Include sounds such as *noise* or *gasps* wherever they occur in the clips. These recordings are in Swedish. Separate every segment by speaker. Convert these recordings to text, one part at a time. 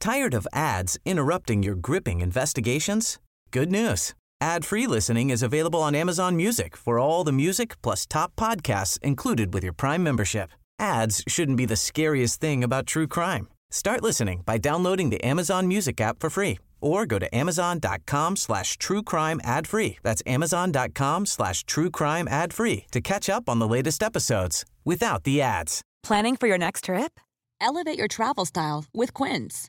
Speaker 1: Tired of ads interrupting your gripping investigations? Good news. Ad-free listening is available on Amazon Music for all the music plus top podcasts included with your Prime membership. Ads shouldn't be the scariest thing about true crime. Start listening by downloading the Amazon Music app for free or go to amazon.com slash true crime ad free. That's amazon.com slash true crime ad free to catch up on the latest episodes without the ads.
Speaker 2: Planning for your next trip?
Speaker 3: Elevate your travel style with Quince.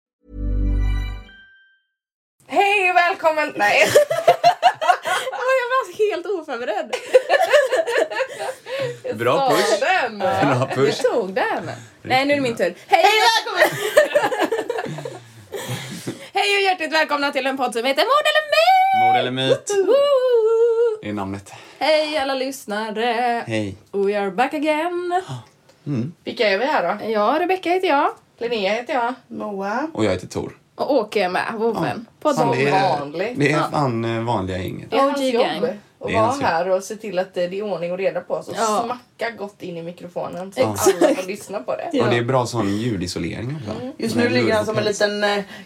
Speaker 4: Hej och välkommen! Nej.
Speaker 5: *laughs* Ja, jag var helt oförberedd.
Speaker 6: *laughs* Bra push. *laughs*
Speaker 4: Den!
Speaker 6: Bra
Speaker 5: Du
Speaker 6: push.
Speaker 5: tog den. Nej, nu är det min tur. Hej!
Speaker 4: välkommen!
Speaker 5: *laughs* Hej och hjärtligt välkomna till en podd som heter Mord eller mig!
Speaker 6: Mord eller myt
Speaker 5: Woo!
Speaker 6: är namnet.
Speaker 5: Hej alla lyssnare!
Speaker 6: Hej. Mm.
Speaker 5: We are
Speaker 6: *gasps*
Speaker 5: back again.
Speaker 4: Vilka är vi här då?
Speaker 5: Ja, Rebecka heter jag.
Speaker 4: Linnea heter jag. Moa.
Speaker 6: Och jag heter Tor.
Speaker 5: Och Åke är med, vovven. Podden.
Speaker 4: Som
Speaker 6: det är-
Speaker 4: vanligt.
Speaker 6: Det är fan eh, vanliga gänget.
Speaker 4: Det är
Speaker 5: OG
Speaker 4: hans
Speaker 5: gang.
Speaker 4: jobb att
Speaker 6: Det är
Speaker 4: vara
Speaker 6: hans jobb.
Speaker 4: här och se till att eh, det det är ordning och reda på oss och
Speaker 5: Ja.
Speaker 4: smacka gott in i mikrofonen så att alla får lyssna på det.
Speaker 6: Och det är bra sån ljudisolering också.
Speaker 7: Mm. Just
Speaker 6: Den
Speaker 7: nu
Speaker 6: här
Speaker 7: ligger han som en
Speaker 6: ljudisoleringen.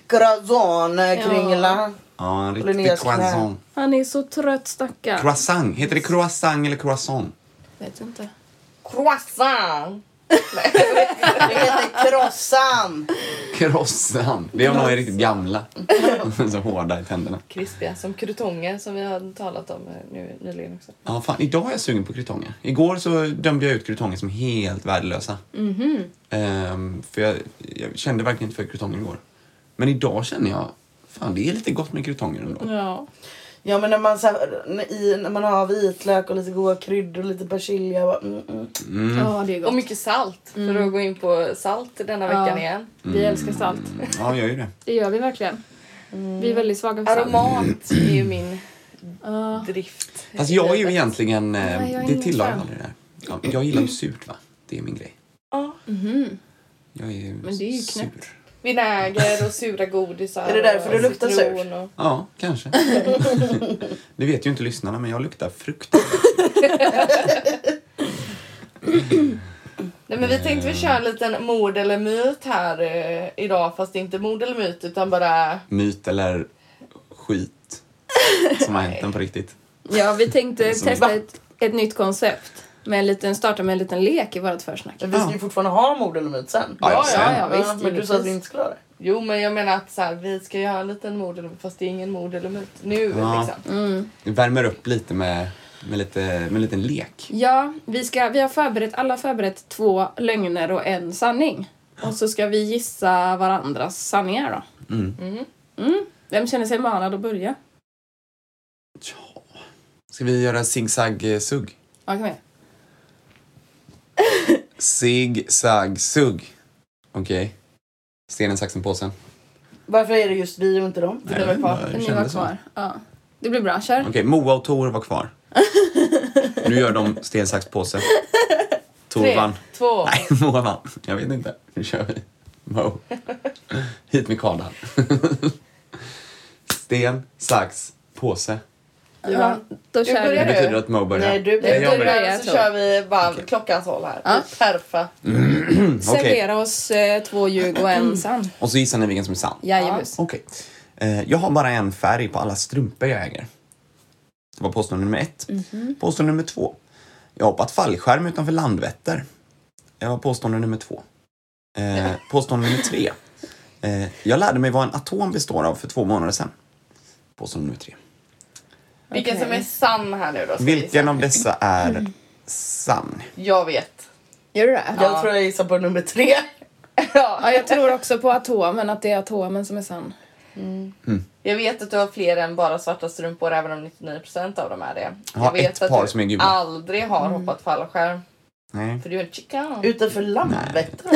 Speaker 7: liten eh, croissant-kringla.
Speaker 6: Ja, en riktig
Speaker 7: Linneas knä.
Speaker 6: croissant.
Speaker 5: Han är så trött stackarn.
Speaker 6: Croissant. Heter det croissant eller croissant?
Speaker 5: Vet inte.
Speaker 4: Croissant!
Speaker 7: Det heter croissant.
Speaker 6: Croissant. Det är om de är riktigt gamla. *laughs* så hårda i tänderna.
Speaker 4: Krispiga som krutonger som vi har talat om eh, nu nyligen också.
Speaker 6: Ja, fan. Idag är jag sugen på krutonger. Igår så dömde jag ut krutonger som helt värdelösa.
Speaker 7: Mhm.
Speaker 6: Ehm, för jag, jag kände verkligen inte för krutonger igår. Men idag känner jag, fan det är lite gott med krutonger ändå.
Speaker 5: Ja.
Speaker 7: Ja men när man, så här, när, i, när man har vitlök och lite goda kryddor och lite persilja. jag Bara, mm, mm.
Speaker 5: Ja, det är
Speaker 4: Och
Speaker 5: gott. Mm.
Speaker 4: mycket salt för att gå in på salt denna veckan igen.
Speaker 5: Vi älskar salt.
Speaker 6: Ja, jag gör ju det.
Speaker 5: Det gör vi verkligen. Vi är väldigt svaga för salt.
Speaker 4: Aromat är ju min
Speaker 5: Ja.
Speaker 4: drift.
Speaker 6: Fast jag är ju egentligen... eh,
Speaker 5: Nej, jag är
Speaker 6: det
Speaker 5: ingen
Speaker 6: tillhör jag
Speaker 5: fan.
Speaker 6: aldrig det där. Ja, jag gillar ju surt, va? Det är min grej.
Speaker 4: Ja.
Speaker 6: Jag är ju
Speaker 5: mhm. Men det är ju
Speaker 6: sur.
Speaker 5: knäppt.
Speaker 4: Vinäger och sura godisar.
Speaker 7: Är det därför
Speaker 4: och
Speaker 7: du luktar
Speaker 4: citron
Speaker 7: surt?
Speaker 4: och-
Speaker 6: Ja,
Speaker 5: *laughs*
Speaker 6: kanske. det vet ju inte lyssnarna, men jag luktar frukt.
Speaker 4: Nej, men vi tänkte vi kör en liten mord eller myt här eh, idag. Fast inte mord eller myt utan bara...
Speaker 6: Myt eller skit som har hänt en på riktigt.
Speaker 5: Ja, vi tänkte
Speaker 6: Som
Speaker 5: testa ett, ett nytt koncept. Med en liten, starta med en liten lek i vårt försnack.
Speaker 7: Men Vi ska ju fortfarande ha mord eller myt sen.
Speaker 6: Ja, ja,
Speaker 5: ja, ja.
Speaker 6: sen.
Speaker 5: visst,
Speaker 7: men du sa att vi
Speaker 5: givetvis.
Speaker 7: inte skulle ha det.
Speaker 4: Jo men jag menar att så här, vi ska göra en liten mord eller fast det är ingen mord eller myt nu
Speaker 6: Ja.
Speaker 4: liksom.
Speaker 6: Det värmer upp lite med, med, lite, med en liten lek.
Speaker 5: Ja, vi, ska, vi har förberett, alla förberett två lögner och en sanning. Och så ska vi gissa varandras sanningar då. Mm. Vem känner sig manad att börja?
Speaker 6: Ja. Ska vi göra zigzag-sugg?
Speaker 5: Ja, kom igen.
Speaker 6: Zigzag-sugg. Okej. Stenen, saxen, påsen.
Speaker 7: Varför är det just vi och inte dem?
Speaker 6: Nej,
Speaker 4: var kvar.
Speaker 6: jag
Speaker 5: Ni
Speaker 6: kände
Speaker 5: var
Speaker 6: så.
Speaker 5: kvar. Ja. Det blir bra, kör.
Speaker 6: Okej, Moa och Tor var kvar. Nu gör de sten, sax, påse. Tor vann.
Speaker 4: Tre,
Speaker 6: *laughs*
Speaker 4: två.
Speaker 6: Nej, Moa vann. Jag vet inte. Nu kör vi. Mo. Hit med kardan. *laughs* Sten, sax, påse.
Speaker 5: Ja, då
Speaker 4: Du
Speaker 5: kör
Speaker 6: Det
Speaker 4: börjar
Speaker 5: vi.
Speaker 4: du.
Speaker 6: betyder att Mo börjar.
Speaker 7: Nej, du
Speaker 4: Vi
Speaker 7: börjar.
Speaker 6: jag börjar.
Speaker 4: börjar så
Speaker 5: jag tror.
Speaker 4: kör vi bara klockans håll här.
Speaker 5: Ja.
Speaker 4: Perfekt.
Speaker 6: Okej.
Speaker 5: Servera oss eh, två ljug och
Speaker 4: Mm.
Speaker 5: en sann.
Speaker 6: Och så gissar ni vilken som är sann.
Speaker 5: Jajebus.
Speaker 6: Okej. Eh, jag har bara en färg på alla strumpor jag äger. Det var påstående nummer ett. Påstående nummer två. Jag har hoppat fallskärm utanför Landvetter. Det var påstående nummer två. Eh, påstående nummer tre. Eh, jag lärde mig vad en atom består av för två månader sedan. Påstående nummer tre.
Speaker 4: Vilken
Speaker 5: Okej.
Speaker 4: som är sann här nu då? ska vi
Speaker 6: Vilken
Speaker 4: se.
Speaker 6: av dessa är sann?
Speaker 4: Jag vet.
Speaker 5: Gör du det?
Speaker 7: Jag tror jag gissar på nummer tre.
Speaker 5: Ja, jag tror också på atomen, att det är atomen som är sann.
Speaker 4: Jag vet att du har fler än bara svarta strumpor även om 99% av dem är det.
Speaker 6: Jag har
Speaker 4: vet
Speaker 6: ett par
Speaker 4: du
Speaker 6: som är gula.
Speaker 7: Mm.
Speaker 4: aldrig har hoppat fallskärm.
Speaker 6: Nej.
Speaker 4: För du är en chica.
Speaker 7: Utanför Landvetter.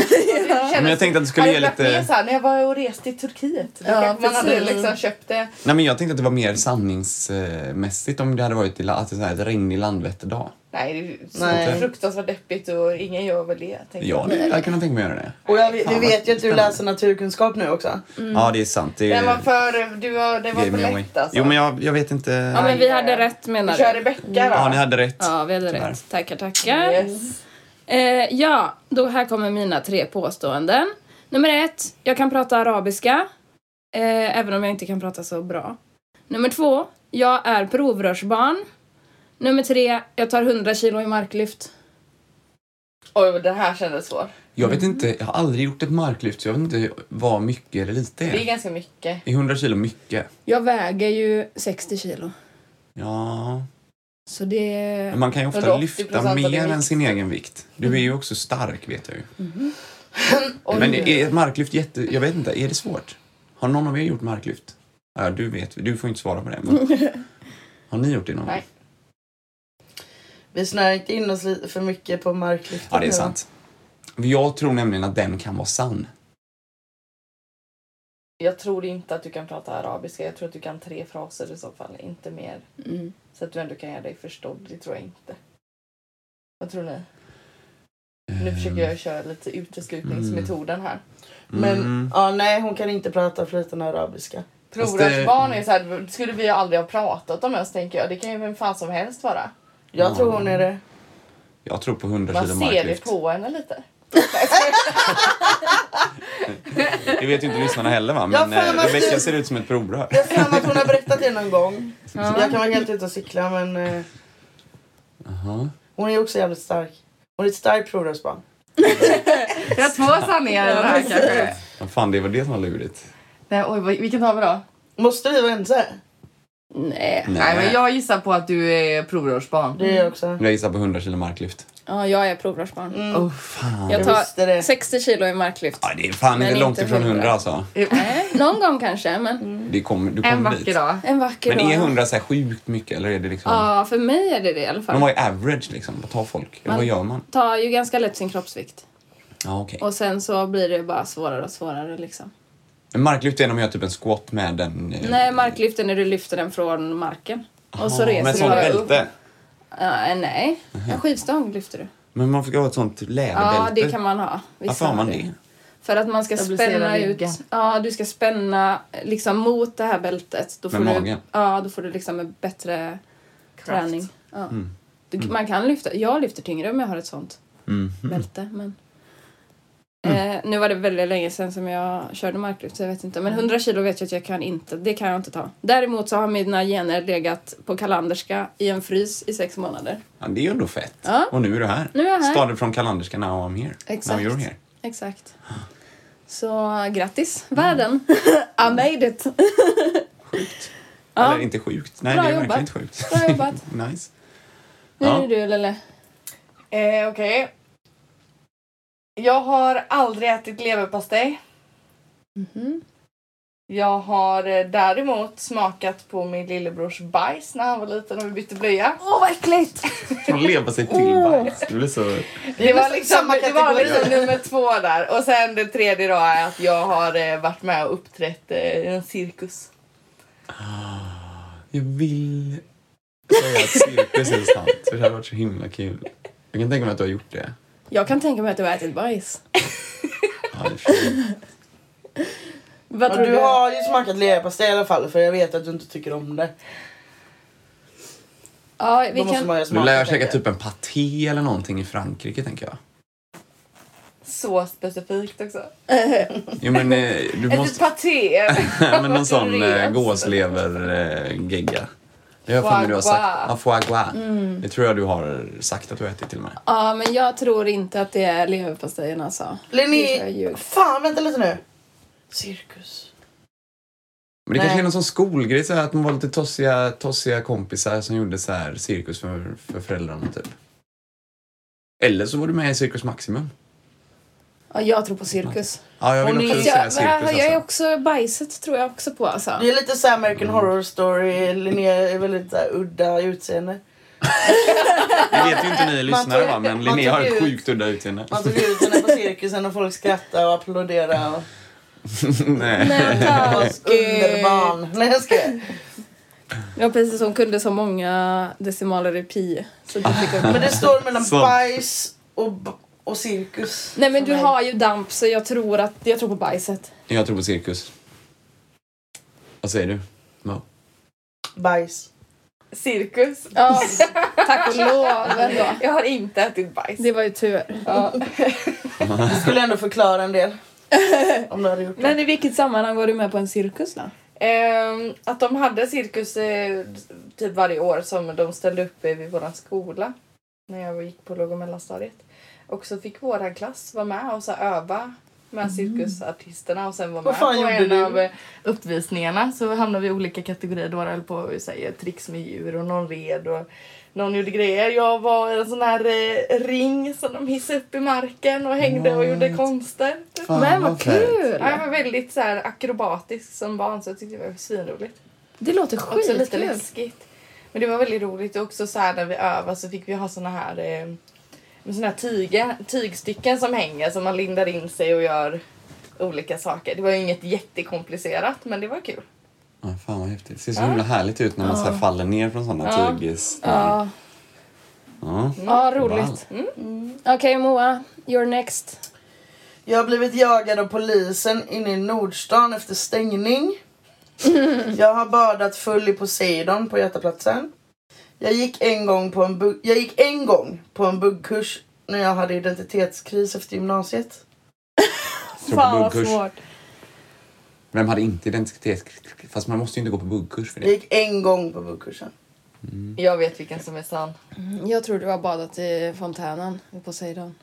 Speaker 4: Ja.
Speaker 6: Men jag tänkte att det skulle ge lite...
Speaker 4: Så här, när jag var och reste i Turkiet. Då
Speaker 7: Ja,
Speaker 4: kanske man hade
Speaker 7: precis.
Speaker 4: liksom köpt det.
Speaker 6: Nej, men jag tänkte att det var mer sanningsmässigt om det hade varit i, la- att det är så här, ett regnig Landvetterdag.
Speaker 4: Nej, det är så
Speaker 7: Nej.
Speaker 4: fruktansvärt deppigt och ingen gör väl det. tänker
Speaker 6: Ja, det- jag kunde tänka mig att göra det.
Speaker 7: Och jag, vet-
Speaker 6: Fan,
Speaker 7: du
Speaker 6: vad
Speaker 7: vet ju att du
Speaker 6: spännande.
Speaker 7: läser naturkunskap nu också.
Speaker 6: Ja, det är sant. Det
Speaker 4: Den Mm. var
Speaker 6: är
Speaker 4: för... Du var, den var
Speaker 6: gave
Speaker 4: för
Speaker 6: me away.
Speaker 4: lätt alltså.
Speaker 6: Jo, men jag, jag vet inte.
Speaker 5: Ja, men vi
Speaker 4: Nej.
Speaker 5: hade rätt menar
Speaker 4: Du
Speaker 5: du?
Speaker 4: kör Rebecka
Speaker 7: Mm.
Speaker 4: då.
Speaker 6: Ja, ni hade rätt.
Speaker 5: Ja, vi hade
Speaker 6: Tyvärr.
Speaker 5: rätt. Tackar, tackar.
Speaker 4: Yes.
Speaker 5: Eh, ja, då här kommer mina tre påståenden. Nummer ett, jag kan prata arabiska. Eh, även om jag inte kan prata så bra. Nummer två, jag är provrörsbarn. Nummer tre, jag tar 100 kilo i marklyft.
Speaker 4: Oj, den här kändes svår.
Speaker 6: Jag vet inte, jag har aldrig gjort ett marklyft så jag vet inte vad mycket eller lite
Speaker 4: Det är
Speaker 6: är.
Speaker 4: ganska mycket.
Speaker 6: Är 100 kilo mycket?
Speaker 5: Jag väger ju 60 kilo.
Speaker 6: Ja.
Speaker 5: Så det...
Speaker 6: Men man kan ju ofta
Speaker 4: 180%
Speaker 6: lyfta
Speaker 4: av din
Speaker 6: mer
Speaker 4: vikt. Mm-hmm.
Speaker 6: än sin egen vikt. Du är ju också stark vet jag ju.
Speaker 4: Oj.
Speaker 6: Men är ett marklyft jätte... Jag vet inte, är det svårt? Har någon av er gjort marklyft? Ja, du vet, du får inte svara på det. Men...
Speaker 4: *laughs*
Speaker 6: Har ni gjort det någon gång?
Speaker 4: Nej.
Speaker 7: Vi snör inte in oss lite för mycket på marklyften.
Speaker 6: Ja, det är
Speaker 7: nu, va?
Speaker 6: sant. Jag tror nämligen att den kan vara sann.
Speaker 4: Jag tror inte att du kan prata arabiska. Jag tror att du kan tre fraser i så fall, inte mer.
Speaker 5: Mm.
Speaker 4: Så att du ändå kan göra dig förstådd. Det tror jag inte. Vad tror ni? Nu
Speaker 6: Ehm,
Speaker 4: försöker jag köra lite uteslutningsmetoden här.
Speaker 7: Men
Speaker 6: mm.
Speaker 7: ja, nej, hon kan inte prata flytande arabiska.
Speaker 6: Fast
Speaker 4: Provrörsbarn
Speaker 6: det-
Speaker 4: är så här, skulle vi ju aldrig ha pratat om ens tänker jag. Det kan ju vem fan som helst vara.
Speaker 7: Jag
Speaker 6: Ja.
Speaker 7: tror hon är det.
Speaker 6: Jag tror på 100
Speaker 4: Man
Speaker 6: kilo
Speaker 4: ser det
Speaker 6: marklyft.
Speaker 4: på henne lite.
Speaker 6: Det vet ju inte lyssnarna heller va?
Speaker 7: Jag
Speaker 6: Men
Speaker 7: har för mig
Speaker 6: eh,
Speaker 7: att
Speaker 6: Rebecka
Speaker 7: du-
Speaker 6: ser ut som ett provrör.
Speaker 7: Jag har för mig att hon har berättat det någon gång. Jag kan vara helt ute och cykla men eh,
Speaker 6: Jaha.
Speaker 7: hon är också jävligt stark. Hon är ett starkt provrörsbarn.
Speaker 4: Vi har två sanningar i den här kanske.
Speaker 6: Ja, fan, det var det som var lurigt.
Speaker 4: Nej, oj, vad- vilken har vi då?
Speaker 7: Måste vi vara ense?
Speaker 5: Nej.
Speaker 4: Nej, men jag gissar på att du är provrörsbarn. Mm.
Speaker 7: Det är jag också.
Speaker 6: Jag gissar på 100 kilo marklyft.
Speaker 5: Ja, jag är provrörsbarn.
Speaker 6: Fan.
Speaker 5: Jag
Speaker 7: Jag
Speaker 5: tar
Speaker 7: visste det.
Speaker 5: 60 kilo i marklyft.
Speaker 6: Ja, det är fan
Speaker 5: Men
Speaker 6: inte långt
Speaker 5: inte
Speaker 6: ifrån
Speaker 5: 100.
Speaker 6: 100 alltså.
Speaker 5: Nej, någon gång kanske, men
Speaker 6: Det kommer, du kommer
Speaker 4: En
Speaker 6: dit.
Speaker 4: vacker dag.
Speaker 5: en vacker
Speaker 6: Men är
Speaker 5: dag.
Speaker 6: 100 så här sjukt mycket eller är det liksom?
Speaker 5: Ja, för mig är det det i alla fall.
Speaker 6: Men vad är average liksom? Vad tar folk? Eller
Speaker 5: Man-
Speaker 6: vad gör man?
Speaker 5: tar ju ganska lätt sin kroppsvikt.
Speaker 6: Ja, okej.
Speaker 5: Och sen så blir det bara svårare och svårare liksom.
Speaker 6: Men Marklyft är när man gör typ en squat med den... eh,
Speaker 5: Nej, marklyften när du lyfter den från marken. Och så
Speaker 6: ja, med
Speaker 5: reser
Speaker 6: ett
Speaker 5: du
Speaker 6: sånt
Speaker 5: bara upp.
Speaker 6: bälte.
Speaker 5: Ja, nej, en skivstång lyfter du.
Speaker 6: Men man fick ha ett sånt läderbälte.
Speaker 5: Ja, det kan man ha. Vissa
Speaker 6: Varför har man
Speaker 5: det.
Speaker 6: det?
Speaker 5: För att man ska
Speaker 4: Stabilisera
Speaker 5: spänna ut.
Speaker 4: ryggen.
Speaker 5: Ja, du ska spänna eh, liksom mot det här bältet. Då
Speaker 6: Med
Speaker 5: får du,
Speaker 6: magen.
Speaker 5: Ja, då får du liksom en bättre
Speaker 4: Kraft.
Speaker 5: träning. Ja. Du, man kan lyfta. Jag lyfter tyngre om jag har ett sånt
Speaker 6: Mm.
Speaker 5: bälte. Men... Eh, nu var det väldigt länge sedan som jag körde marklyft så jag vet inte. Men
Speaker 4: Mm.
Speaker 5: 100 kilo vet jag att jag kan inte. Det kan jag inte ta. Däremot så har mina gener legat på kalanderska i en frys i sex månader.
Speaker 6: Ja, det är ju ändå fett.
Speaker 5: Ja.
Speaker 6: Och nu är du här.
Speaker 5: Nu är jag här.
Speaker 6: Started från kalenderska Now I'm here.
Speaker 5: Exakt.
Speaker 6: Now you're here.
Speaker 5: Exakt. Så grattis världen! I made it! Ja.
Speaker 6: Eller inte sjukt. Nej,
Speaker 5: Bra
Speaker 6: det är
Speaker 5: jobbat.
Speaker 6: verkligen inte sjukt.
Speaker 5: Bra jobbat!
Speaker 6: *laughs* nice.
Speaker 5: Nu
Speaker 6: Ja.
Speaker 5: är det du Lelle.
Speaker 4: Eh, Okej. Jag har aldrig ätit leverpastej.
Speaker 5: Mhm.
Speaker 4: Jag har eh, däremot smakat på min lillebrors bajs när han var liten och vi bytte blöja.
Speaker 5: Åh vad äckligt!
Speaker 6: Från leva sig till bajs. Det blir så...
Speaker 4: Det var liksom,
Speaker 7: samma
Speaker 4: det var
Speaker 7: kategori.
Speaker 4: liksom nummer två där. Och sen det tredje då är att jag har eh, varit med och uppträtt eh, i en cirkus.
Speaker 6: Jag vill säga att cirkus är sant. För det hade varit så himla kul. Jag kan tänka mig att du har gjort det.
Speaker 5: Jag kan tänka mig att du har ätit bajs.
Speaker 6: Ja, det är fint.
Speaker 5: Vad
Speaker 7: Och
Speaker 5: tror
Speaker 7: du
Speaker 5: du?
Speaker 7: har ju smakat leverpastej i alla fall för jag vet att du inte tycker om det.
Speaker 5: Ja, vi
Speaker 7: Då måste
Speaker 5: kan...
Speaker 7: man ju
Speaker 6: Nu
Speaker 7: ha smakat
Speaker 6: lär jag käka
Speaker 7: tänker
Speaker 6: typ en paté eller någonting i Frankrike, tänker jag.
Speaker 4: Så specifikt också.
Speaker 6: Jo, men eh, du
Speaker 4: Ett
Speaker 6: måste...
Speaker 4: paté.
Speaker 7: *laughs*
Speaker 6: men någon sån eh,
Speaker 4: Rest.
Speaker 6: gåslever-gegga. Det har jag för mig du har
Speaker 4: Foie
Speaker 6: sagt.
Speaker 4: gras.
Speaker 6: Ja, foie gras.
Speaker 7: Mm.
Speaker 6: Det tror jag du har sagt att du har ätit till och med.
Speaker 5: Ja, men jag tror inte att det är leverpastejen alltså. Det tror jag
Speaker 7: Linné,
Speaker 5: ljuger.
Speaker 7: fan vänta lite nu. Cirkus.
Speaker 6: Men det kanske
Speaker 7: Nej.
Speaker 6: är någon sån skolgrej, så här, att man var lite tossiga, tossiga kompisar som gjorde så här cirkus för, för föräldrarna, typ. Eller så var du med i Cirkus Maximum.
Speaker 5: Ja, jag tror på cirkus.
Speaker 6: Ja, jag
Speaker 7: Och
Speaker 6: vill
Speaker 7: ni-
Speaker 6: också
Speaker 5: Fast
Speaker 7: Jag
Speaker 6: säga
Speaker 5: jag,
Speaker 6: cirkus.
Speaker 5: jag, jag är
Speaker 6: Alltså.
Speaker 5: också bajset tror jag också på alltså.
Speaker 6: Mm.
Speaker 7: Det är lite så här American Horror Story. Linnea är väldigt så här, udda i utseende.
Speaker 6: Det vet ju inte ni lyssnare
Speaker 7: tog-
Speaker 6: va, men
Speaker 7: man
Speaker 6: Linnea har
Speaker 7: tog
Speaker 6: ett
Speaker 7: ut-
Speaker 6: sjukt udda utseende.
Speaker 7: Man tog ut henne på cirkusen och folk skrattade och applåderade. Och
Speaker 6: *laughs* Nej.
Speaker 5: Men tack.
Speaker 7: underbarn. Nej jag skojar.
Speaker 5: Ja precis, hon kunde så många decimaler i pi. Så det fick
Speaker 6: *laughs*
Speaker 5: hon...
Speaker 7: Men det står mellan
Speaker 6: Så.
Speaker 7: bajs och, b- och cirkus.
Speaker 5: Nej men du
Speaker 7: För mig.
Speaker 5: har ju damp så jag tror att, jag tror på bajset.
Speaker 6: Jag tror på cirkus. Vad säger du? Ja.
Speaker 7: Bajs.
Speaker 4: Cirkus.
Speaker 7: *laughs*
Speaker 5: Ja, tack och lov ändå.
Speaker 4: Jag har inte ätit bajs.
Speaker 5: Det var ju tur.
Speaker 7: Det skulle ändå förklara en del. Om du hade gjort det.
Speaker 5: Men i vilket sammanhang var du med på en cirkus då?
Speaker 4: Ehm, att de hade cirkus eh, typ varje år som de ställde upp eh, vid våran skola när jag gick på låg och mellanstadiet. Och så fick våran klass vara med och så öva med cirkusartisterna och sen vara
Speaker 7: Vad
Speaker 4: med
Speaker 7: fan
Speaker 4: på
Speaker 7: gjorde
Speaker 4: en
Speaker 7: du?
Speaker 4: av eh, uppvisningarna. Så hamnade vi i olika kategorier. Några höll på att säga tricks med djur och någon red och någon gjorde grejer. Jag var i en sån här eh, ring som de hissade upp i marken och hängde och gjorde konster.
Speaker 5: Men vad kul!
Speaker 4: Ja, jag var väldigt så här, akrobatisk som barn så jag tyckte det var svinroligt.
Speaker 5: Det låter
Speaker 4: Också lite
Speaker 5: skitkul.
Speaker 4: läskigt. Men det var väldigt roligt och också så här när vi övade så fick vi ha såna här eh, med såna här tyga, tygstycken som hänger som man lindar in sig och gör olika saker. Det var ju inget jättekomplicerat men det var kul.
Speaker 6: Ja, fan vad häftigt. Det ser så himla härligt ut när man så här faller ner från sådana
Speaker 5: Ja.
Speaker 6: tygis.
Speaker 5: Ja,
Speaker 6: Ja.
Speaker 5: ja roligt. Okej Moa, you're next.
Speaker 7: Jag har blivit jagad av polisen inne i Nordstan efter stängning. Jag har badat full i Poseidon på Götaplatsen. Jag gick en gång på en, bugg- jag gick en gång på en buggkurs när jag hade identitetskris efter gymnasiet.
Speaker 6: Tror på
Speaker 5: Fan vad
Speaker 6: buggkurs.
Speaker 5: svårt.
Speaker 6: Vem hade inte identitet? Fast man måste ju inte gå på buggkurs för
Speaker 7: Jag
Speaker 6: det.
Speaker 7: gick en gång på buggkursen.
Speaker 4: Jag vet vilken som är sann.
Speaker 5: Mm, Jag tror du har badat i fontänen i Poseidon.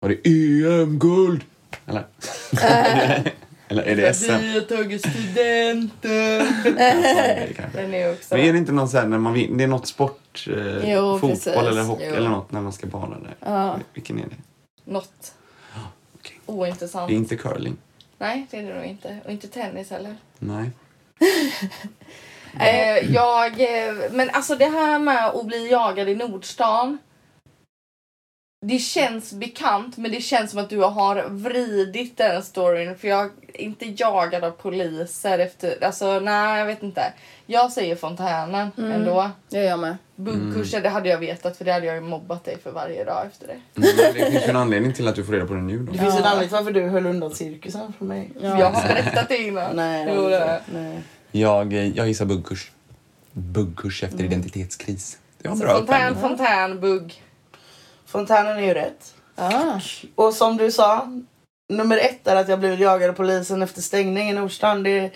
Speaker 6: Var det EM-guld?
Speaker 4: *laughs*
Speaker 6: Eller? Eller är
Speaker 4: Alltså,
Speaker 6: det SM? Ja,
Speaker 4: har tagit studenten.
Speaker 6: det är kanske.
Speaker 4: *laughs* Den är också...
Speaker 6: Men är det inte någon så här när man vin- det är något sport, eh,
Speaker 5: Jo,
Speaker 6: fotboll
Speaker 5: precis.
Speaker 6: eller hockey
Speaker 5: Jo.
Speaker 6: eller något när man ska bada där?
Speaker 5: Ja.
Speaker 6: Vilken är det?
Speaker 4: Något.
Speaker 6: okej.
Speaker 4: Ointressant.
Speaker 6: Det är inte curling?
Speaker 4: Nej, det är det nog inte. Och inte tennis heller.
Speaker 6: Nej.
Speaker 4: Eh, jag, eh, men alltså det här med att bli jagad i Nordstan. Det känns bekant men det känns som att du har vridit den storyn för jag är inte jagad av poliser efter, alltså nej jag vet inte. Jag säger fontänen ändå.
Speaker 5: Jag gör med.
Speaker 4: Buggkurser det hade jag vetat för det hade jag ju mobbat dig för varje dag efter det.
Speaker 6: Mm, men det finns ju en anledning till att du får reda på det nu då.
Speaker 7: Det finns en anledning till varför du höll undan cirkusen från mig.
Speaker 4: För Jag har berättat det innan.
Speaker 7: Nej, det
Speaker 4: Jo,
Speaker 7: var
Speaker 4: det-
Speaker 7: inte. Nej.
Speaker 6: Jag, eh, jag gissar buggkurs. Buggkurs efter identitetskris. Det var en
Speaker 4: Så
Speaker 6: bra
Speaker 4: fontän,
Speaker 6: uppvärmning.
Speaker 4: fontän, bugg.
Speaker 7: Fontänen är ju rätt.
Speaker 5: Ah.
Speaker 7: Och som du sa, nummer ett är att jag blivit jagad av polisen efter stängning i Nordstan. Det,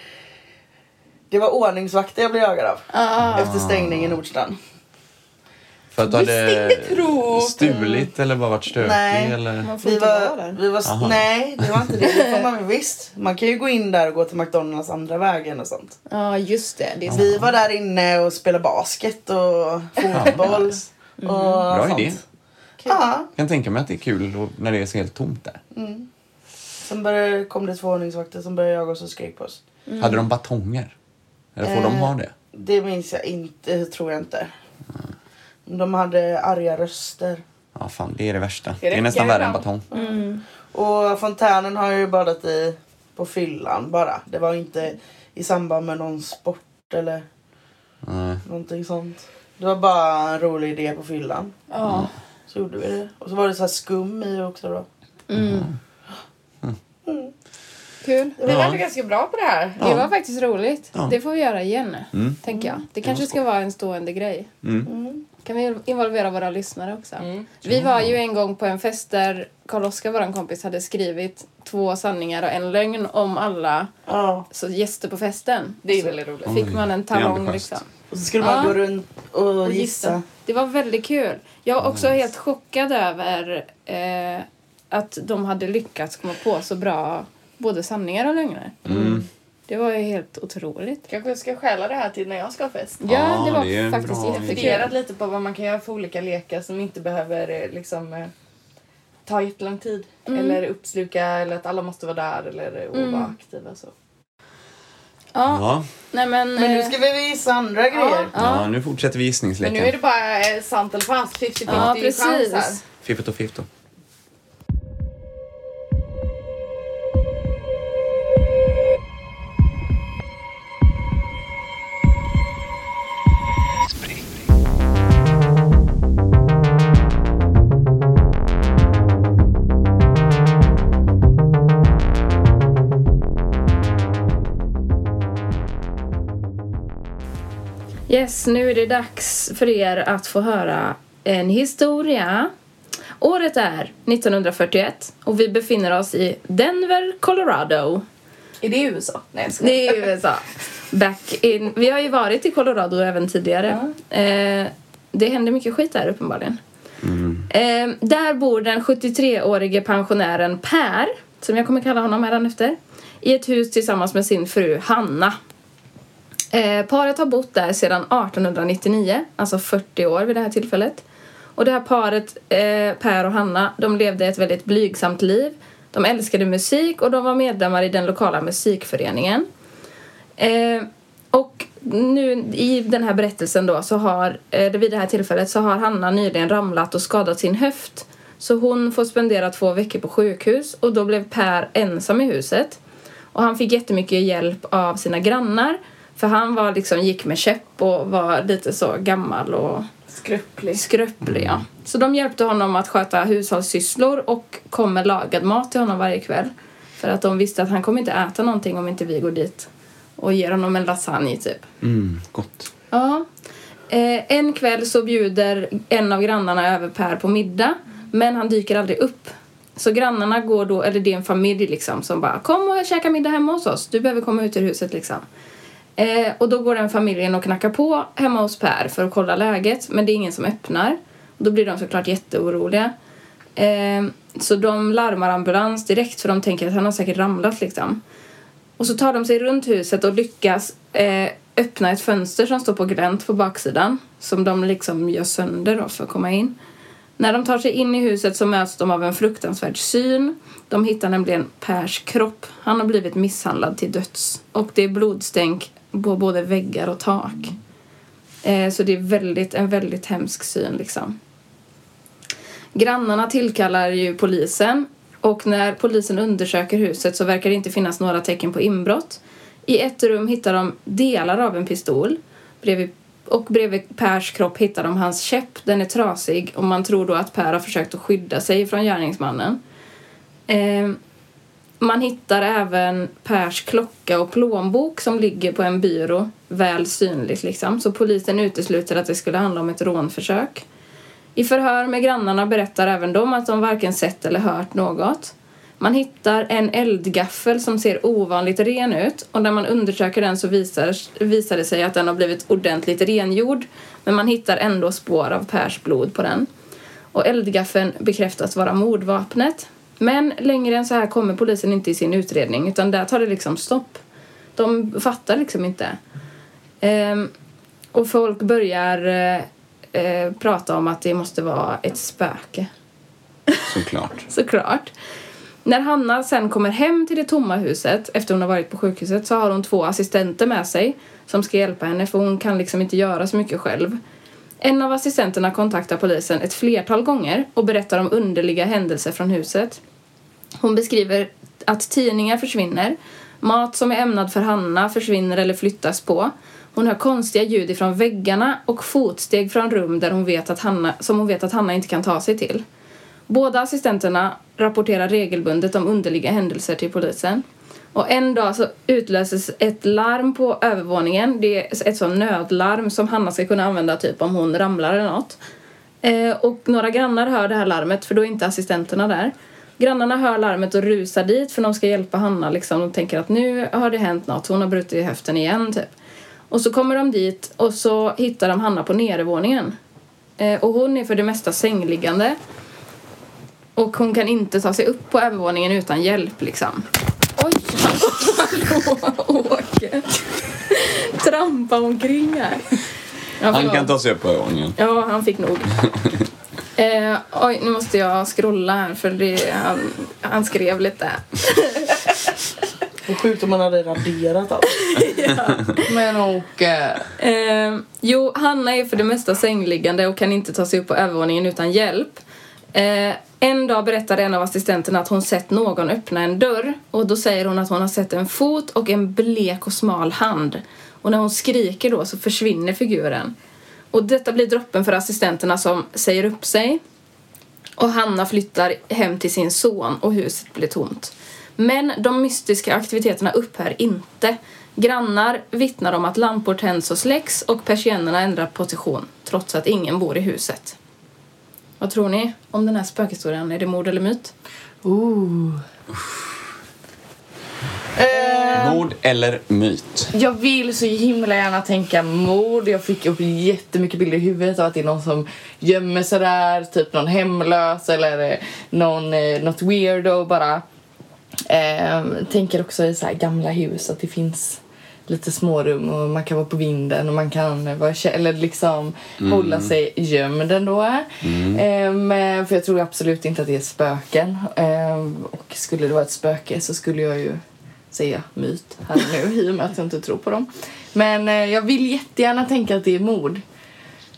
Speaker 7: det var ordningsvakter jag blev jagad av
Speaker 5: Ah.
Speaker 7: efter stängning i Nordstan.
Speaker 6: För att du *laughs*
Speaker 4: Visst,
Speaker 6: hade
Speaker 4: tro.
Speaker 6: stulit eller bara varit stökig
Speaker 7: Nej.
Speaker 6: eller?
Speaker 5: Man får
Speaker 7: Vi
Speaker 5: inte vara
Speaker 7: var,
Speaker 5: där.
Speaker 7: vi var,
Speaker 6: Aha.
Speaker 7: nej, det var inte det. det får man,
Speaker 5: *laughs*
Speaker 7: väl visst, man kan ju gå in där och gå till McDonalds andra vägen och sånt.
Speaker 5: Ja, just det. det är
Speaker 7: Vi var där inne och spelade basket
Speaker 5: *laughs*
Speaker 7: och fotboll. Och
Speaker 6: Bra
Speaker 7: sånt.
Speaker 6: idé.
Speaker 7: Ja,
Speaker 6: Jag kan tänka mig att det är kul och- när det är så helt tomt där.
Speaker 7: sen började, kom det två ordningsvakter som började jaga oss och skrek på oss.
Speaker 6: Hade de batonger? Eller får de ha det?
Speaker 7: Det minns jag inte, det tror jag inte. De hade arga röster.
Speaker 6: Ja, fan, det är det värsta. Det
Speaker 4: räcker
Speaker 6: är nästan värre än Mm.
Speaker 4: ibland.
Speaker 6: batong.
Speaker 7: Och fontänen har jag ju badat i på fyllan bara. Det var inte i samband med någon sport eller
Speaker 6: Nej.
Speaker 7: någonting sånt. Det var bara en rolig idé på fyllan.
Speaker 5: Ja.
Speaker 7: Så gjorde vi det. Och så var det så här skum i också då.
Speaker 5: Kul.
Speaker 4: Vi är ändå ganska bra på det här.
Speaker 5: Det var faktiskt roligt.
Speaker 6: Ja.
Speaker 5: Det får vi göra igen, tänker jag. Det kanske ska vara en stående grej.
Speaker 4: Mm.
Speaker 5: Kan vi involvera våra lyssnare också? Vi var ju en gång på en fest där Karl-Oskar, vår kompis, hade skrivit två sanningar och en lögn om alla
Speaker 7: Ja.
Speaker 5: så gäster på festen.
Speaker 4: Det är väldigt roligt.
Speaker 5: Fick man en
Speaker 6: är
Speaker 5: talong
Speaker 6: ambitiöst.
Speaker 5: liksom.
Speaker 7: Och så skulle man
Speaker 5: Ja.
Speaker 7: gå runt och,
Speaker 5: Och
Speaker 7: gissa.
Speaker 5: gissa. Det var väldigt kul. Jag var också helt chockad över eh, att de hade lyckats komma på så bra både sanningar och lögner. Det var ju helt otroligt.
Speaker 4: Kanske jag ska stjäla det här till när jag ska ha fest.
Speaker 5: Ja,
Speaker 6: Ja,
Speaker 5: det var
Speaker 6: Ah, det är en
Speaker 5: faktiskt
Speaker 6: bra
Speaker 5: jättekul.
Speaker 4: funderat lite på vad man kan göra för olika lekar som inte behöver eh, liksom eh, ta jättelång tid. Eller Mm. uppsluka eller att alla måste vara där eller eh, och vara aktiva. Så.
Speaker 5: Ja,
Speaker 6: Ja,
Speaker 5: Nej men...
Speaker 7: Men nu
Speaker 5: eh,
Speaker 7: ska vi visa andra grejer.
Speaker 6: Ja, nu fortsätter vi gissningsleken.
Speaker 4: Men nu är det bara eh, sant eller falskt. 50-50
Speaker 5: Ja,
Speaker 4: chans här.
Speaker 5: precis.
Speaker 6: Fiffigt och fiffigt.
Speaker 5: Yes, nu är det dags för er att få höra en historia. Året är 1941 och vi befinner oss i Denver, Colorado.
Speaker 4: Är det USA? Nej, jag skojar.
Speaker 5: Det är USA. Back in. Vi har ju varit i Colorado även tidigare. Eh, det händer mycket skit där uppenbarligen. Eh, där bor den 73-årige pensionären Per, som jag kommer kalla honom hädanefter, i ett hus tillsammans med sin fru Hanna. Eh, paret har bott där sedan 1899, alltså 40 år vid det här tillfället. Och det här paret, eh, Per och Hanna, de levde ett väldigt blygsamt liv. De älskade musik och de var medlemmar i den lokala musikföreningen. Eh, och nu i den här berättelsen då så har, eh, vid det här tillfället så har Hanna nyligen ramlat och skadat sin höft. Så hon får spendera två veckor på sjukhus och då blev Per ensam i huset. Och han fick jättemycket hjälp av sina grannar. För han var liksom, gick med käpp och var lite så gammal och
Speaker 4: Skröplig.
Speaker 5: skröplig. Ja. Så de hjälpte honom att sköta hushållssysslor och kom med lagad mat till honom varje kväll. För att de visste att han kommer inte äta någonting om inte vi går dit och ger honom en lasagne typ.
Speaker 6: Mm, gott.
Speaker 5: Ja. Eh, en kväll så bjuder en av grannarna över Per på middag men han dyker aldrig upp. Så grannarna går då, eller det är en familj liksom som bara kom och käka middag hemma hos oss, du behöver komma ut ur huset liksom. Eh, och då går den familjen och knackar på hemma hos Per för att kolla läget men det är ingen som öppnar. Då blir de såklart jätteoroliga. Eh, så de larmar ambulans direkt för de tänker att han har säkert ramlat liksom. Och så tar de sig runt huset och lyckas eh, öppna ett fönster som står på glänt på baksidan. Som de liksom gör sönder då för att komma in. När de tar sig in i huset så möts de av en fruktansvärd syn. De hittar nämligen Pers kropp. Han har blivit misshandlad till döds. Och det är blodstänk på både väggar och tak. Eh, så det är väldigt, en väldigt hemsk syn liksom. Grannarna tillkallar ju polisen och när polisen undersöker huset så verkar det inte finnas några tecken på inbrott. I ett rum hittar de delar av en pistol bredvid, och bredvid Pers kropp hittar de hans käpp. Den är trasig och man tror då att Per har försökt att skydda sig från gärningsmannen. Ehm, man hittar även Pers klocka och plånbok som ligger på en byrå, väl synligt liksom. Så polisen utesluter att det skulle handla om ett rånförsök. I förhör med grannarna berättar även de att de varken sett eller hört något. Man hittar en eldgaffel som ser ovanligt ren ut och när man undersöker den så visar, visar det sig att den har blivit ordentligt rengjord men man hittar ändå spår av Pers blod på den. Och eldgaffeln bekräftas vara mordvapnet. Men längre än så här kommer polisen inte i sin utredning utan där tar det liksom stopp. De fattar liksom inte. Ehm, och folk börjar eh, eh, prata om att det måste vara ett spöke.
Speaker 6: Såklart.
Speaker 5: *laughs* Såklart. När Hanna sen kommer hem till det tomma huset efter hon har varit på sjukhuset så har hon två assistenter med sig som ska hjälpa henne för hon kan liksom inte göra så mycket själv. En av assistenterna kontaktar polisen ett flertal gånger och berättar om underliga händelser från huset. Hon beskriver att tidningar försvinner, mat som är ämnad för Hanna försvinner eller flyttas på. Hon hör konstiga ljud ifrån väggarna och fotsteg från rum där hon vet att Hanna, som hon vet att Hanna inte kan ta sig till. Båda assistenterna rapporterar regelbundet om underliga händelser till polisen. Och en dag så utlöses ett larm på övervåningen. Det är ett sånt nödlarm som Hanna ska kunna använda typ om hon ramlar eller något. Eh, och några grannar hör det här larmet för då är inte assistenterna där. Grannarna hör larmet och rusar dit för de ska hjälpa Hanna liksom. De tänker att nu har det hänt något, hon har brutit höften igen typ. Och så kommer de dit och så hittar de Hanna på nedervåningen. Eh, och hon är för det mesta sängliggande. Och hon kan inte ta sig upp på övervåningen utan hjälp liksom. Oj, hallå, Åke. Trampa omkring här. Ja,
Speaker 6: Han
Speaker 5: förlåt.
Speaker 6: kan ta sig upp på ögonen.
Speaker 5: Ja, han fick nog. *laughs* Eh, oj, nu måste jag scrolla här för det, han, han skrev lite.
Speaker 7: Vad sjukt om man hade raderat allt.
Speaker 4: Men och... eh,
Speaker 5: Eh, jo, Hanna är för det mesta sängliggande och kan inte ta sig upp på övervåningen utan hjälp. Eh, en dag berättade en av assistenterna att hon sett någon öppna en dörr och då säger hon att hon har sett en fot och en blek och smal hand. Och när hon skriker då så försvinner figuren. Och detta blir droppen för assistenterna som säger upp sig. Och Hanna flyttar hem till sin son och huset blir tomt. Men de mystiska aktiviteterna upphör inte. Grannar vittnar om att lampor tänds och släcks och persiennerna ändrar position trots att ingen bor i huset. Vad tror ni om den här spökhistorien? Är det mord eller myt?
Speaker 6: Mord eller myt?
Speaker 4: Jag vill så himla gärna tänka mord. Jag fick upp jättemycket bilder i huvudet av att det är någon som gömmer sig där, typ någon hemlös eller eh, någon, eh, något weirdo bara. Ehm, tänker också i så här gamla hus att det finns lite smårum och man kan vara på vinden och man kan eh, vara kä- eller liksom
Speaker 6: Mm.
Speaker 4: hålla sig gömd ändå. Ehm, för jag tror absolut inte att det är spöken. Ehm, och skulle det vara ett spöke så skulle jag ju säga myt här och nu *laughs* i och med att jag inte tror på dem. Men eh, jag vill jättegärna tänka att det är mord.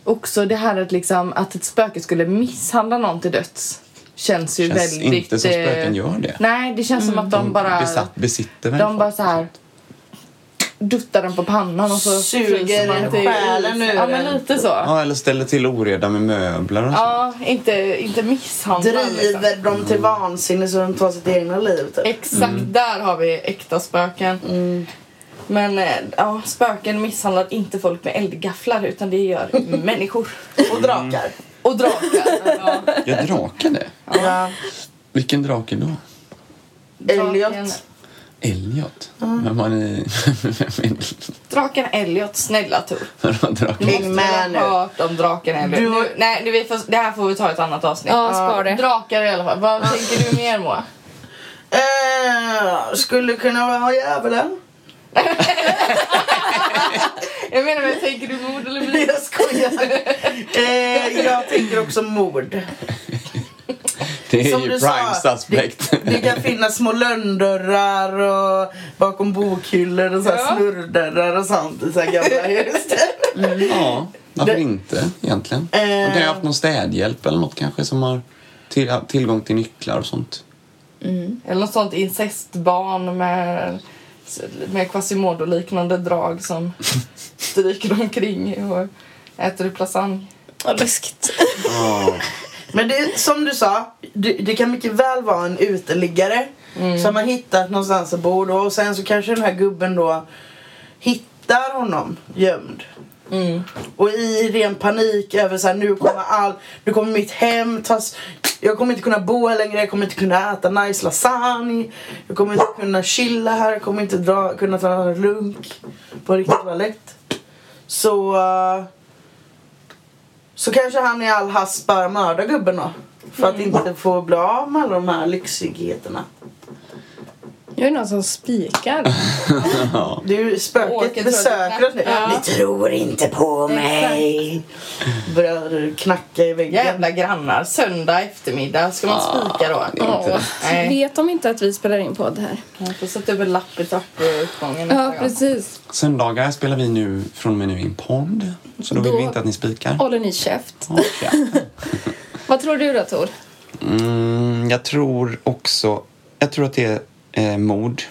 Speaker 4: Också det här att, liksom, att ett spöke skulle misshandla någon till döds känns ju
Speaker 6: Känns
Speaker 4: väldigt...
Speaker 6: inte som
Speaker 4: eh,
Speaker 6: spöken gör det.
Speaker 4: Nej, det känns som att de bara...
Speaker 6: Mm, Besatt, besitter människor.
Speaker 4: De bara så här duttar den på pannan och så
Speaker 7: Suger
Speaker 4: fryser man till
Speaker 7: själen
Speaker 4: is.
Speaker 7: ur
Speaker 4: Ja, men
Speaker 7: den.
Speaker 4: lite så. Ja,
Speaker 6: Ja, eller ställer till oreda med möbler och så.
Speaker 4: inte, inte misshandla. liksom.
Speaker 7: Driver dem till vansinne så de tar sitt egna liv typ.
Speaker 4: Exakt, där har vi äkta spöken.
Speaker 7: Mm.
Speaker 4: Men eh, ja, spöken misshandlar inte folk med eldgafflar utan det
Speaker 7: *laughs*
Speaker 4: gör människor.
Speaker 7: Och drakar.
Speaker 4: Och drakar. ja.
Speaker 6: Ja, draken det.
Speaker 7: Ja.
Speaker 6: Vilken drake då?
Speaker 4: draken,
Speaker 7: Elliot.
Speaker 6: Elliot? Vem har ni... *laughs* Vem är-
Speaker 4: draken Elliot, snälla Tor.
Speaker 6: draken?
Speaker 7: Häng med
Speaker 4: Jag
Speaker 7: nu.
Speaker 4: har hört om draken Elliot.
Speaker 7: Du-
Speaker 4: Nu, nej, nu, vi får, det här får vi ta i ett annat avsnitt.
Speaker 5: Ja, spar det.
Speaker 4: Drakar i alla fall. Vad tänker du mer Moa?
Speaker 7: Eh, skulle kunna vara djävulen. *laughs*
Speaker 4: Jag menar, men tänker du mord eller myt?
Speaker 7: Jag skojar. Eh, jag tänker också mord.
Speaker 6: Det är
Speaker 7: Som
Speaker 6: ju
Speaker 7: du
Speaker 6: prime
Speaker 7: sa,
Speaker 6: suspect.
Speaker 7: Det kan finnas små lönndörrar och bakom bokhyllor och så här
Speaker 4: Ja.
Speaker 7: snurrdörrar och sånt i så här gamla hus.
Speaker 6: Ja, varför
Speaker 7: Det-
Speaker 6: inte egentligen?
Speaker 7: Eh.
Speaker 6: De kan ju ha haft någon städhjälp eller något kanske som har till, tillgång till nycklar och sånt.
Speaker 4: Eller något sånt incestbarn med, med Quasimodo-liknande drag som stryker omkring och äter lasagne.
Speaker 5: Vad läskigt.
Speaker 7: Men det, som du sa, det, det kan mycket väl vara en uteliggare som har hittat någonstans att bo då och sen så kanske den här gubben då hittar honom gömd. Och i ren panik över så här, nu kommer all, nu kommer mitt hem tas, jag kommer inte kunna bo här längre, jag kommer inte kunna äta nice lasagne, jag kommer inte kunna chilla här, jag kommer inte dra, kunna ta en lunk på riktigt toalett. Så eh, så kanske han i all hast bara mördar gubben då. För
Speaker 4: Mm.
Speaker 7: att inte få bli av med alla de här lyxigheterna.
Speaker 5: Jag är någon som spikar.
Speaker 7: Det är
Speaker 4: Åker
Speaker 7: ju
Speaker 4: tror
Speaker 7: spöket
Speaker 4: jag
Speaker 7: besöker oss nu.
Speaker 4: knackar.
Speaker 7: Ni tror inte på mig. Börjar knacka i väggen.
Speaker 4: Jävla grannar. Söndag eftermiddag. Ska man spika då?
Speaker 6: det är inte
Speaker 4: Ja.
Speaker 6: rätt.
Speaker 4: Nej.
Speaker 5: Vet de inte att vi spelar in podd här?
Speaker 4: Man får sätta upp en lapp i trappuppgången
Speaker 5: Ja,
Speaker 4: nästa gång.
Speaker 5: precis.
Speaker 6: Söndagar spelar vi nu från och med nu in podd. Så då vill
Speaker 5: Då-
Speaker 6: vi inte att ni spikar.
Speaker 5: Håller ni käft?
Speaker 6: Okej.
Speaker 5: Vad tror du då, Tor?
Speaker 6: Mm, jag tror också... Jag tror att det är eh, mord.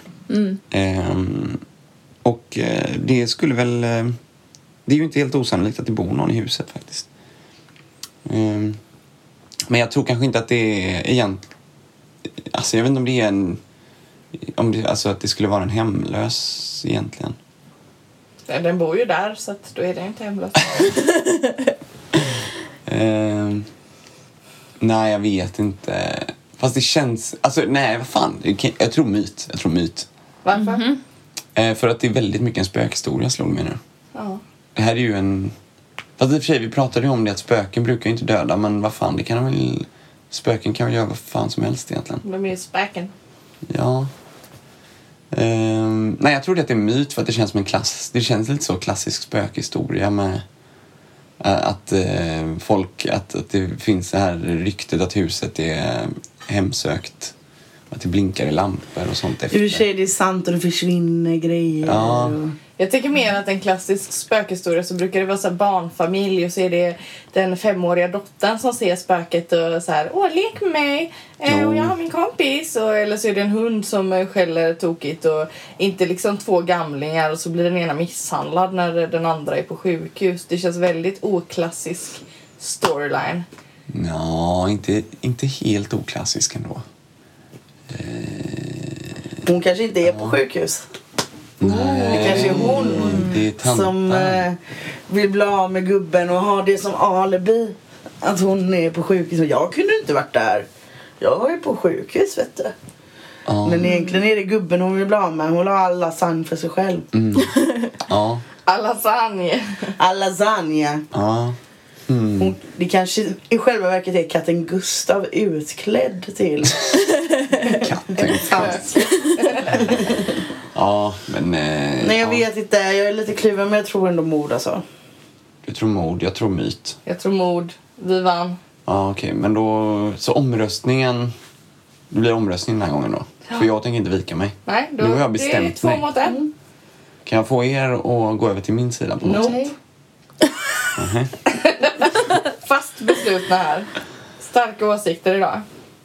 Speaker 6: Ehm, och eh, det skulle väl... Eh, det är ju inte helt osannolikt att det bor någon i huset faktiskt. Ehm, men jag tror kanske inte att det är egent... Alltså jag vet inte om det är en... Om det, alltså att det skulle vara en hemlös egentligen.
Speaker 4: Nej, Den bor ju där så att då är den inte hemlös.
Speaker 6: Ehm, nej, jag vet inte. Fast det känns... Alltså, nej, vad fan. Det kan- Jag tror myt. Jag tror myt.
Speaker 4: Varför?
Speaker 6: Eh, för att det är väldigt mycket en spökhistoria, slog mig nu.
Speaker 4: Ja.
Speaker 6: Det här är ju en... Fast i och för sig, vi pratade ju om det att spöken brukar ju inte döda, men vad fan, det kan de väl... Spöken kan väl göra vad fan som helst egentligen.
Speaker 4: De är ju späken.
Speaker 6: Ja. Ehm, nej, jag tror att det är myt för att det känns som en klass... Det känns lite så klassisk spökhistoria med eh, att eh, folk... Att, att det finns det här ryktet att huset är eh, hemsökt. Att det blinkar i lampor och sånt
Speaker 7: I och
Speaker 6: efter.
Speaker 7: för sig det är sant och det försvinner grejer.
Speaker 6: Ja.
Speaker 7: och-
Speaker 4: Jag tänker mer att en klassisk spökhistoria så brukar det vara så här barnfamilj och så är det den femåriga dottern som ser spöket och så här åh lek med mig eh, och jag har min kompis och, eller så är det en hund som eh, skäller tokigt och inte liksom två gamlingar och så blir den ena misshandlad när den andra är på sjukhus. Det känns väldigt oklassisk storyline.
Speaker 6: Ja, inte, inte helt oklassisk ändå.
Speaker 7: Hon kanske inte är på sjukhus.
Speaker 6: Nej,
Speaker 7: Det kanske är hon
Speaker 6: det är tantan.
Speaker 7: som eh, vill bli av med gubben och har det som alibi. Att hon är på sjukhus. Och jag kunde inte varit där. Jag var ju på sjukhus vet du.
Speaker 6: Ja.
Speaker 7: Men egentligen är det gubben hon vill bli av med. Hon vill ha all lasagne för sig själv.
Speaker 6: Mm. Ja,
Speaker 4: Alasagne.
Speaker 7: All lasagne.
Speaker 6: ja. Mm.
Speaker 7: Hon, det kanske i själva verket är katten Gustav utklädd
Speaker 6: *laughs*
Speaker 7: till. *laughs*
Speaker 6: Katten. Ja, men... Eh,
Speaker 7: Nej jag
Speaker 6: ja.
Speaker 7: vet inte. Jag är lite kluven men jag tror ändå mord alltså.
Speaker 6: Du tror mord, jag tror myt.
Speaker 4: Jag tror mord. Vi vann.
Speaker 6: Ja, okej. Men då... Så omröstningen... Det blir omröstning den här gången då. För jag tänker inte vika mig.
Speaker 4: Nej, då,
Speaker 6: nu har jag
Speaker 4: det är
Speaker 6: bestämt
Speaker 4: två
Speaker 6: mig.
Speaker 4: mot en.
Speaker 6: Kan jag få er att gå över till min sida på något sätt?
Speaker 4: Nej. Fast beslutna här. Starka åsikter idag.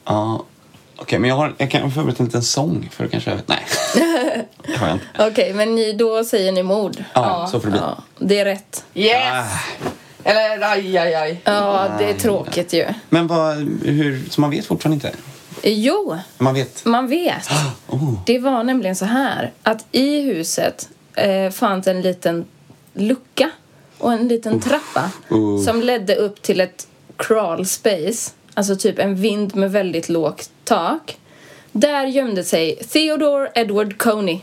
Speaker 6: Ja. Okej, men jag, har, jag kan ha förberett en liten sång för att kanske...
Speaker 7: *laughs*
Speaker 6: Nej. det har jag inte.
Speaker 5: Okej, men ni, då säger ni mord.
Speaker 6: Ja, så får det bli.
Speaker 5: Ja, det är rätt.
Speaker 4: Yes!
Speaker 6: Ah.
Speaker 4: Eller aj, aj, aj.
Speaker 5: Ja, det är tråkigt ju.
Speaker 6: Men vad... Hur, så man vet fortfarande inte?
Speaker 5: Jo,
Speaker 6: Man vet...
Speaker 5: man vet.
Speaker 6: Oh.
Speaker 5: Det var nämligen så här att i huset eh, fanns en liten lucka och en liten trappa
Speaker 6: Uff.
Speaker 5: som ledde upp till ett crawl space, alltså typ en vind med väldigt lågt tak. Där gömde sig Theodore Edward Coney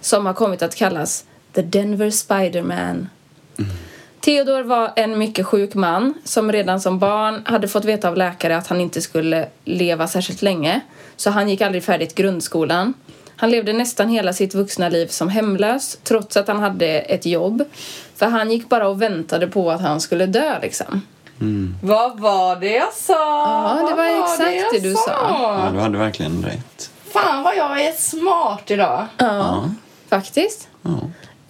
Speaker 5: som har kommit att kallas The Denver Spider-Man. Theodor var en mycket sjuk man som redan som barn hade fått veta av läkare att han inte skulle leva särskilt länge. Så han gick aldrig färdigt grundskolan. Han levde nästan hela sitt vuxna liv som hemlös trots att han hade ett jobb. För han gick bara och väntade på att han skulle dö liksom.
Speaker 4: Vad var det jag sa?
Speaker 5: Ja, det
Speaker 4: Vad
Speaker 5: var exakt
Speaker 4: jag
Speaker 5: det du sa.
Speaker 6: Ja, du hade verkligen rätt.
Speaker 4: Fan vad jag är smart idag.
Speaker 5: Ja, faktiskt.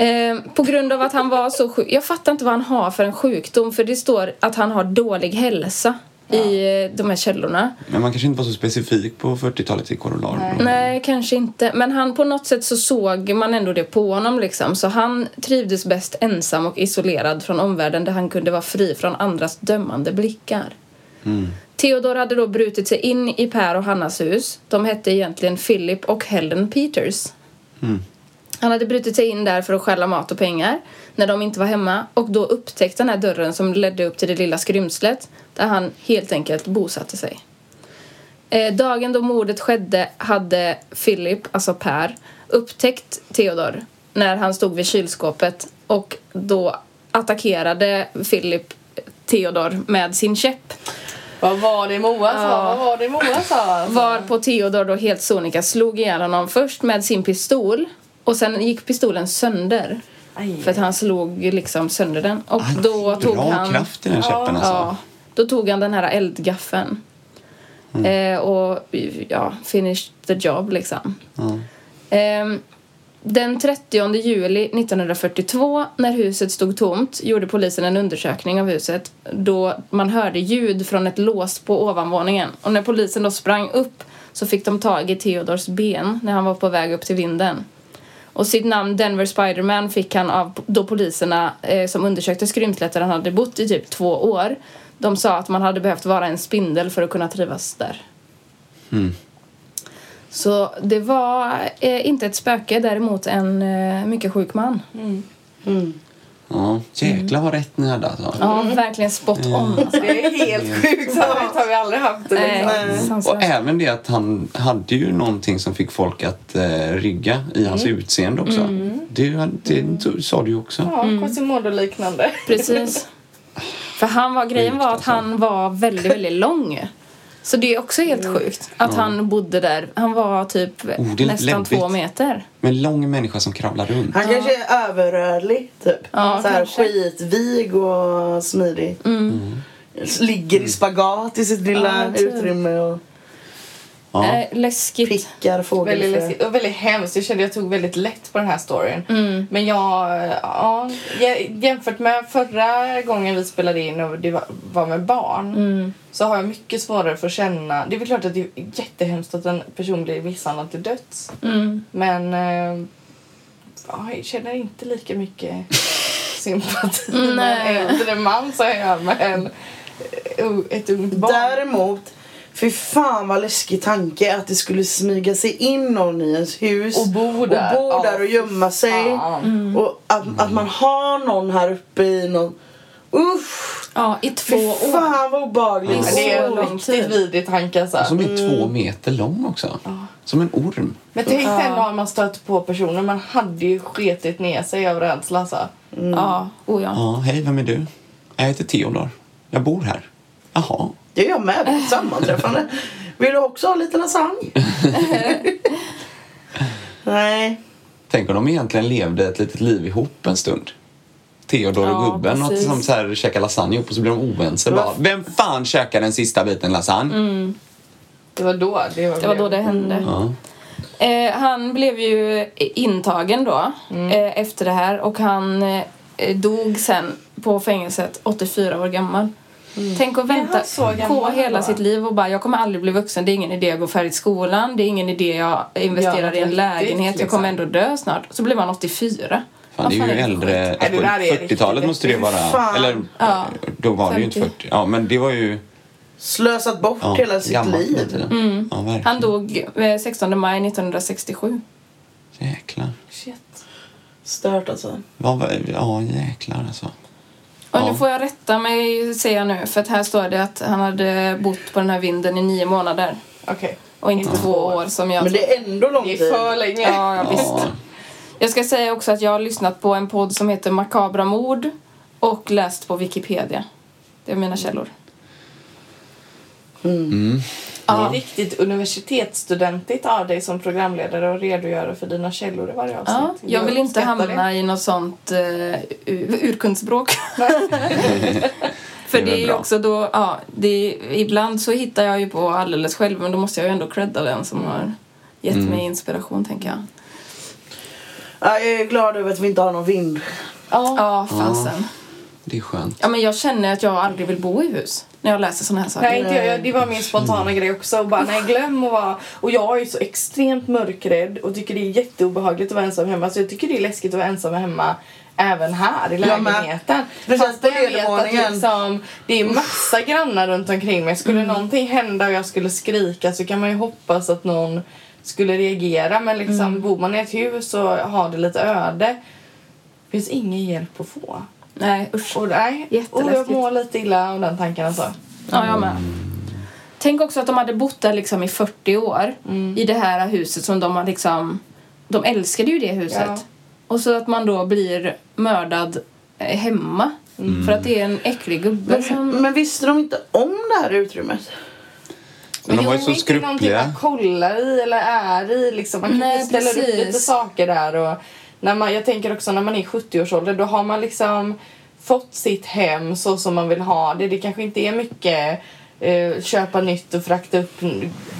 Speaker 5: Eh, på grund av att han var så sjuk. Jag fattar inte vad han har för en sjukdom för det står att han har dålig hälsa i eh, de här källorna.
Speaker 6: Men man kanske inte var så specifik på 40-talet i Korollar.
Speaker 5: Nej, kanske inte. Men han på något sätt så såg man ändå det på honom liksom. Så han trivdes bäst ensam och isolerad från omvärlden där han kunde vara fri från andras dömande blickar. Theodor hade då brutit sig in i Per och Hannas hus. De hette egentligen Philip och Helen Peters. Han hade brutit sig in där för att stjäla mat och pengar när de inte var hemma och då upptäckte den här dörren som ledde upp till det lilla skrymslet där han helt enkelt bosatte sig. Eh, dagen då mordet skedde hade Philip, alltså Per, upptäckt Theodor när han stod vid kylskåpet och då attackerade Philip Theodor med sin käpp.
Speaker 4: Vad var det Moa sa? Vad var det Moa sa?
Speaker 5: *laughs*
Speaker 4: Alltså?
Speaker 5: Var på Theodor då helt sonika slog ihjäl honom först med sin pistol och sen gick pistolen sönder. För att han slog liksom sönder den. Och då tog
Speaker 6: Mm. Bra
Speaker 5: han...
Speaker 6: kraft i den käppen
Speaker 5: Ja,
Speaker 6: alltså.
Speaker 5: då tog han den här eldgaffeln.
Speaker 6: Mm.
Speaker 5: Eh, och ja, finished the job liksom. Ehm, den 30 juli 1942 när huset stod tomt gjorde polisen en undersökning av huset då man hörde ljud från ett lås på ovanvåningen. Och när polisen då sprang upp så fick de tag i Theodors ben när han var på väg upp till vinden. Och sitt namn Denver Spiderman fick han av då poliserna eh, som undersökte skrymslet där han hade bott i typ två år. De sa att man hade behövt vara en spindel för att kunna trivas där. Så det var eh, inte ett spöke, däremot en eh, mycket sjuk man.
Speaker 6: Ja. Jäklar vad rätt ni hade alltså.
Speaker 5: Ja, verkligen spot on. Alltså.
Speaker 4: Det är helt sjukt. Så här har vi aldrig haft det.
Speaker 5: Nej,
Speaker 4: Liksom.
Speaker 5: sanslöst.
Speaker 6: Och även det att han hade ju någonting som fick folk att eh, rygga i hans
Speaker 5: Mm.
Speaker 6: utseende också. Det, det, det sa du ju också.
Speaker 4: Ja,
Speaker 5: Mm.
Speaker 4: Quasimodo-liknande.
Speaker 5: Precis. För han var, grejen var att
Speaker 6: alltså.
Speaker 5: han var väldigt, väldigt lång. Så det är också helt sjukt att han bodde där. Han var typ
Speaker 6: Oh, det är
Speaker 5: nästan
Speaker 6: lämpligt.
Speaker 5: två meter.
Speaker 6: Men lång människa som kravlar runt.
Speaker 7: Han kanske är överrörlig typ.
Speaker 5: Ja,
Speaker 7: så här
Speaker 5: kanske.
Speaker 7: skitvig och smidig.
Speaker 4: Mm.
Speaker 7: Ligger i spagat i sitt lilla
Speaker 5: Ja, typ.
Speaker 7: utrymme och
Speaker 6: Ja.
Speaker 5: Nej, Eh, läskigt.
Speaker 7: Pickar
Speaker 4: Väldigt
Speaker 7: fågelfrö.
Speaker 4: läskigt och väldigt hemskt. Jag kände jag tog väldigt lätt på den här storyn. Men jag, ja, jä- jämfört med förra gången vi spelade in och det var- var med barn så har jag mycket svårare för att känna. Det är väl klart att det är jättehemskt att en person blir misshandlad till döds. Men eh, ja, jag känner inte lika mycket sympati med en äldre man som jag gör med en, eh, ett ungt barn.
Speaker 7: Däremot, fy fan vad läskig tanke att det skulle smyga sig in någon i ens hus
Speaker 4: Och bo där.
Speaker 7: och, bo
Speaker 4: Ja,
Speaker 7: där och gömma sig. Mm.
Speaker 4: fan.
Speaker 7: Och att, att man har någon här uppe i någon... Usch!
Speaker 5: Ja, i två
Speaker 7: Fy
Speaker 5: år.
Speaker 7: fan vad obehagligt.
Speaker 5: Mm.
Speaker 4: Det
Speaker 5: Så
Speaker 4: är
Speaker 5: lång
Speaker 4: riktigt
Speaker 5: tid.
Speaker 4: vidrig tanke alltså.
Speaker 6: Som
Speaker 5: Mm.
Speaker 6: är två meter lång också. Som en orm.
Speaker 4: Men tänk dig ändå har man stött på personer. Man hade ju sketit ner sig av rädsla alltså.
Speaker 5: Ja, oh ja.
Speaker 6: Ja, hej, vem är du? Jag heter Theodor. Jag bor här. Jaha.
Speaker 7: Det är jag med. Sammanträffande. Vill du också ha lite
Speaker 6: *laughs*
Speaker 7: lasagne? Nej.
Speaker 6: Tänk om de egentligen levde ett litet liv ihop en stund. Theodor och
Speaker 5: Ja,
Speaker 6: gubben och
Speaker 5: precis.
Speaker 6: som så här käkar lasagne ihop och så blir de oense. Bara, Vem fan käkar den sista biten lasagne?
Speaker 4: Det var då det var,
Speaker 5: Det var då det hände.
Speaker 6: Ja.
Speaker 5: Mm. Eh, han blev ju intagen då eh, efter det här och han eh, dog sen på fängelset 84 år gammal. Tänk att vänta
Speaker 4: han så gammal
Speaker 5: på hela
Speaker 4: då?
Speaker 5: sitt liv och bara jag kommer aldrig bli vuxen, det är ingen idé att gå färdigt skolan, det är ingen idé jag
Speaker 4: Ja,
Speaker 5: investerar i en
Speaker 4: riktigt,
Speaker 5: lägenhet, jag
Speaker 4: liksom.
Speaker 5: kommer ändå dö snart. Så blev han 84.
Speaker 6: Fan, det är
Speaker 5: Vad
Speaker 6: ju
Speaker 5: fan
Speaker 6: äldre.
Speaker 5: skit?
Speaker 4: Nej, det där är riktigt
Speaker 6: 40-talet måste det ju vara.
Speaker 7: Fan.
Speaker 6: Eller, då var det ju inte
Speaker 5: 50.
Speaker 6: 40. Ja, men det var ju...
Speaker 7: Slösat bort
Speaker 6: Ja,
Speaker 7: hela sitt
Speaker 6: gammalt på den
Speaker 7: liv.
Speaker 6: tiden. Ja, verkligen.
Speaker 5: Han dog eh, 16 maj 1967.
Speaker 6: Jäklar.
Speaker 4: Shit.
Speaker 7: Stört alltså.
Speaker 6: Vad var... Ja, jäklar alltså.
Speaker 5: Och
Speaker 6: Ja.
Speaker 5: nu får jag rätta mig, säger jag nu, för att här står det att han hade bott på den här vinden i nio månader.
Speaker 4: Okej.
Speaker 5: Och inte två år som jag
Speaker 7: Men det är ändå lång
Speaker 4: Det är
Speaker 7: tid.
Speaker 4: för länge.
Speaker 5: Ja, ja,
Speaker 6: Ja.
Speaker 5: visst. Jag ska säga också att jag har lyssnat på en podd som heter Makabra mord och läst på Wikipedia. Det är mina källor.
Speaker 4: Det är riktigt universitetsstudentigt av dig som programledare och redogöra för dina källor i varje avsnitt.
Speaker 5: Ja, jag vill inte
Speaker 4: uppskattar
Speaker 5: hamna
Speaker 4: det.
Speaker 5: i något sånt eh, ur- urkundsbråk. För
Speaker 6: Det är
Speaker 5: det är
Speaker 6: väl
Speaker 5: ju
Speaker 6: bra.
Speaker 5: också då, ja, det är, ibland så hittar jag ju på alldeles själv men då måste jag ju ändå credda den som har gett mig inspiration tänker jag.
Speaker 7: Ja, jag är glad över att vi inte har någon vind.
Speaker 5: Ja, fasen.
Speaker 6: Det är skönt.
Speaker 5: Ja, men jag känner att jag aldrig vill bo i hus när jag läser såna här saker.
Speaker 4: Nej, inte jag. jag. Det var min spontana grej också. Och bara, nej, glöm att vara... Och jag är ju så extremt mörkrädd och tycker det är jätteobehagligt att vara ensam hemma. Så jag tycker det är läskigt att vara ensam hemma även här i
Speaker 7: Jag med.
Speaker 4: lägenheten.
Speaker 7: Precis,
Speaker 4: Fast
Speaker 7: på
Speaker 4: jag vet att
Speaker 7: nedervåningen.
Speaker 4: liksom, det är massa grannar runt omkring mig. Skulle någonting hända och jag skulle skrika så kan man ju hoppas att någon skulle reagera. Men liksom, bor man i ett hus och har det lite öde finns ingen hjälp att få.
Speaker 5: Nej, usch.
Speaker 4: Och, nej. och jag
Speaker 5: Jätteläskigt.
Speaker 4: mår lite illa av den tanken alltså.
Speaker 5: Ja, jag med. Tänk också att de hade bott där liksom i 40 år i det här huset som de har liksom... De älskade ju det huset.
Speaker 4: Ja.
Speaker 5: Och så att man då blir mördad eh, hemma för att det är en äcklig gubbe
Speaker 4: Mm.
Speaker 5: som...
Speaker 7: Men visste de inte om det här utrymmet?
Speaker 6: Men de
Speaker 4: Jo,
Speaker 6: var ju
Speaker 4: men
Speaker 6: så
Speaker 4: inte någonting
Speaker 6: skruppliga.
Speaker 4: Man kollar i eller är i. Liksom. Man
Speaker 5: Nej,
Speaker 4: Nej, ställer upp
Speaker 5: precis.
Speaker 4: lite saker där. Och när man, jag tänker också när man är i 70-årsåldern då har man liksom fått sitt hem så som man vill ha det. Det kanske inte är mycket eh, köpa nytt och frakta upp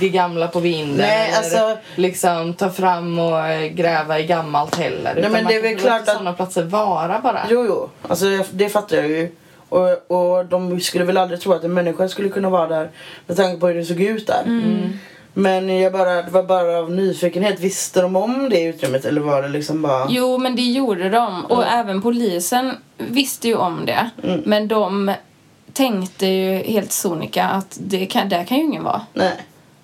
Speaker 4: det gamla på vinden.
Speaker 7: Nej,
Speaker 4: eller
Speaker 7: alltså-
Speaker 4: liksom ta fram och eh, gräva i gammalt heller. Utan
Speaker 7: men
Speaker 4: man
Speaker 7: det
Speaker 4: kan
Speaker 7: är väl
Speaker 4: låta
Speaker 7: klart att-
Speaker 4: sådana platser vara bara.
Speaker 7: Jo, jo. Alltså, jag- det fattar jag ju. Och, och de skulle väl aldrig tro att en människa skulle kunna vara där med tanke på hur det såg ut där.
Speaker 4: Mm.
Speaker 6: Mm.
Speaker 7: Men jag bara, det var bara av nyfikenhet. Visste de om det utrymmet eller var det liksom bara...
Speaker 5: Jo, men det gjorde de. Och även polisen visste ju om det. Men de tänkte ju helt sonika att det kan, där kan ju ingen vara.
Speaker 7: Nej.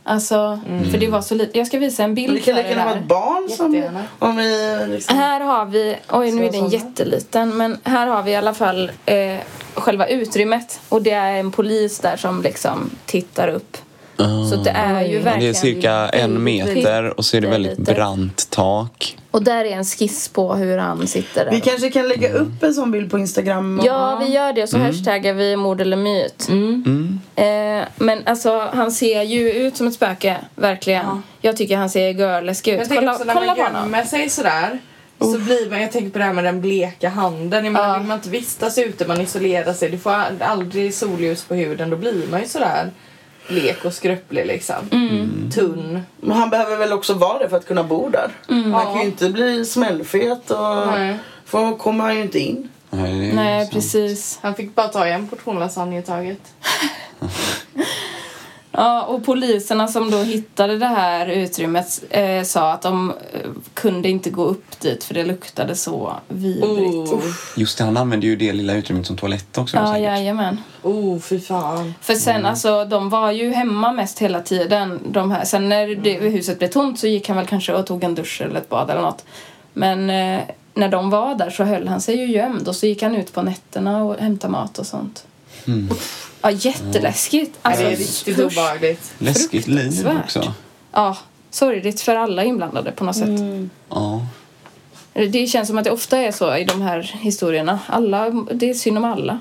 Speaker 5: Alltså, för det var så lite. Jag ska visa en
Speaker 7: Mm. Men det
Speaker 5: bild
Speaker 7: kan
Speaker 5: för
Speaker 7: lika
Speaker 5: er
Speaker 7: gärna vara
Speaker 5: här.
Speaker 7: ett barn som...
Speaker 4: Jättegärna.
Speaker 7: Om vi liksom...
Speaker 5: Här har vi, oj nu är den jätteliten, men här har vi i alla fall eh, själva utrymmet. Och det är en polis där som liksom tittar upp. Så det är ju verkligen...
Speaker 6: Ah. Det är cirka en meter och så är det väldigt
Speaker 5: Lite.
Speaker 6: brant tak.
Speaker 5: Och där är en skiss på hur han sitter där.
Speaker 7: Vi kanske kan lägga
Speaker 6: Mm.
Speaker 7: upp en sån bild på Instagram. och-
Speaker 5: Ja, vi gör det och så hashtaggar vi mord eller myt.
Speaker 7: Mm.
Speaker 6: Mm.
Speaker 5: Eh, men alltså, han ser ju ut som ett spöke, verkligen. Jag tycker han ser görläskig ut.
Speaker 4: Jag tänker
Speaker 5: Kolla,
Speaker 4: också när
Speaker 5: kolla
Speaker 4: man
Speaker 5: på
Speaker 7: Mm.
Speaker 5: honom.
Speaker 4: gömmer sig sådär så blir man, jag tänker på det här med den bleka handen. Jag menar, vill man inte vistas ute, man isolerar sig, du får aldrig solljus på huden, då blir man ju sådär blek och skröplig liksom. Tunn.
Speaker 7: Men han behöver väl också vara det för att kunna bo där. Han kan ju inte bli smällfet och...
Speaker 4: Nej.
Speaker 7: För då kommer han ju inte in.
Speaker 6: Nej, det är
Speaker 5: Nej,
Speaker 6: sant.
Speaker 5: precis.
Speaker 4: Han fick bara ta en portion lasagne i taget.
Speaker 5: Ja, och poliserna som då hittade det här utrymmet eh, sa att de eh, kunde inte gå upp dit för det luktade så vidrigt.
Speaker 6: Just Oh, det, han använde ju det lilla utrymmet som toalett också.
Speaker 5: Ja,
Speaker 6: säkert. Mm.
Speaker 5: jajamän.
Speaker 4: Oh, fy fan.
Speaker 5: För sen, alltså, de var ju hemma mest hela tiden. De här. Sen när det, huset blev tomt så gick han väl kanske och tog en dusch eller ett bad eller något. Men eh, när de var där så höll han sig ju gömd och så gick han ut på nätterna och hämtade mat och sånt.
Speaker 6: Mm.
Speaker 5: Ja, jätteläskigt. Alltså,
Speaker 4: det är riktigt
Speaker 5: usch.
Speaker 4: obehagligt.
Speaker 6: Läskigt liv
Speaker 5: Fruktansvärt.
Speaker 6: också.
Speaker 5: Ja, sorgligt för alla inblandade på något sätt.
Speaker 6: Ja.
Speaker 5: Det känns som att det ofta är så i de här historierna. Alla, det är synd om alla.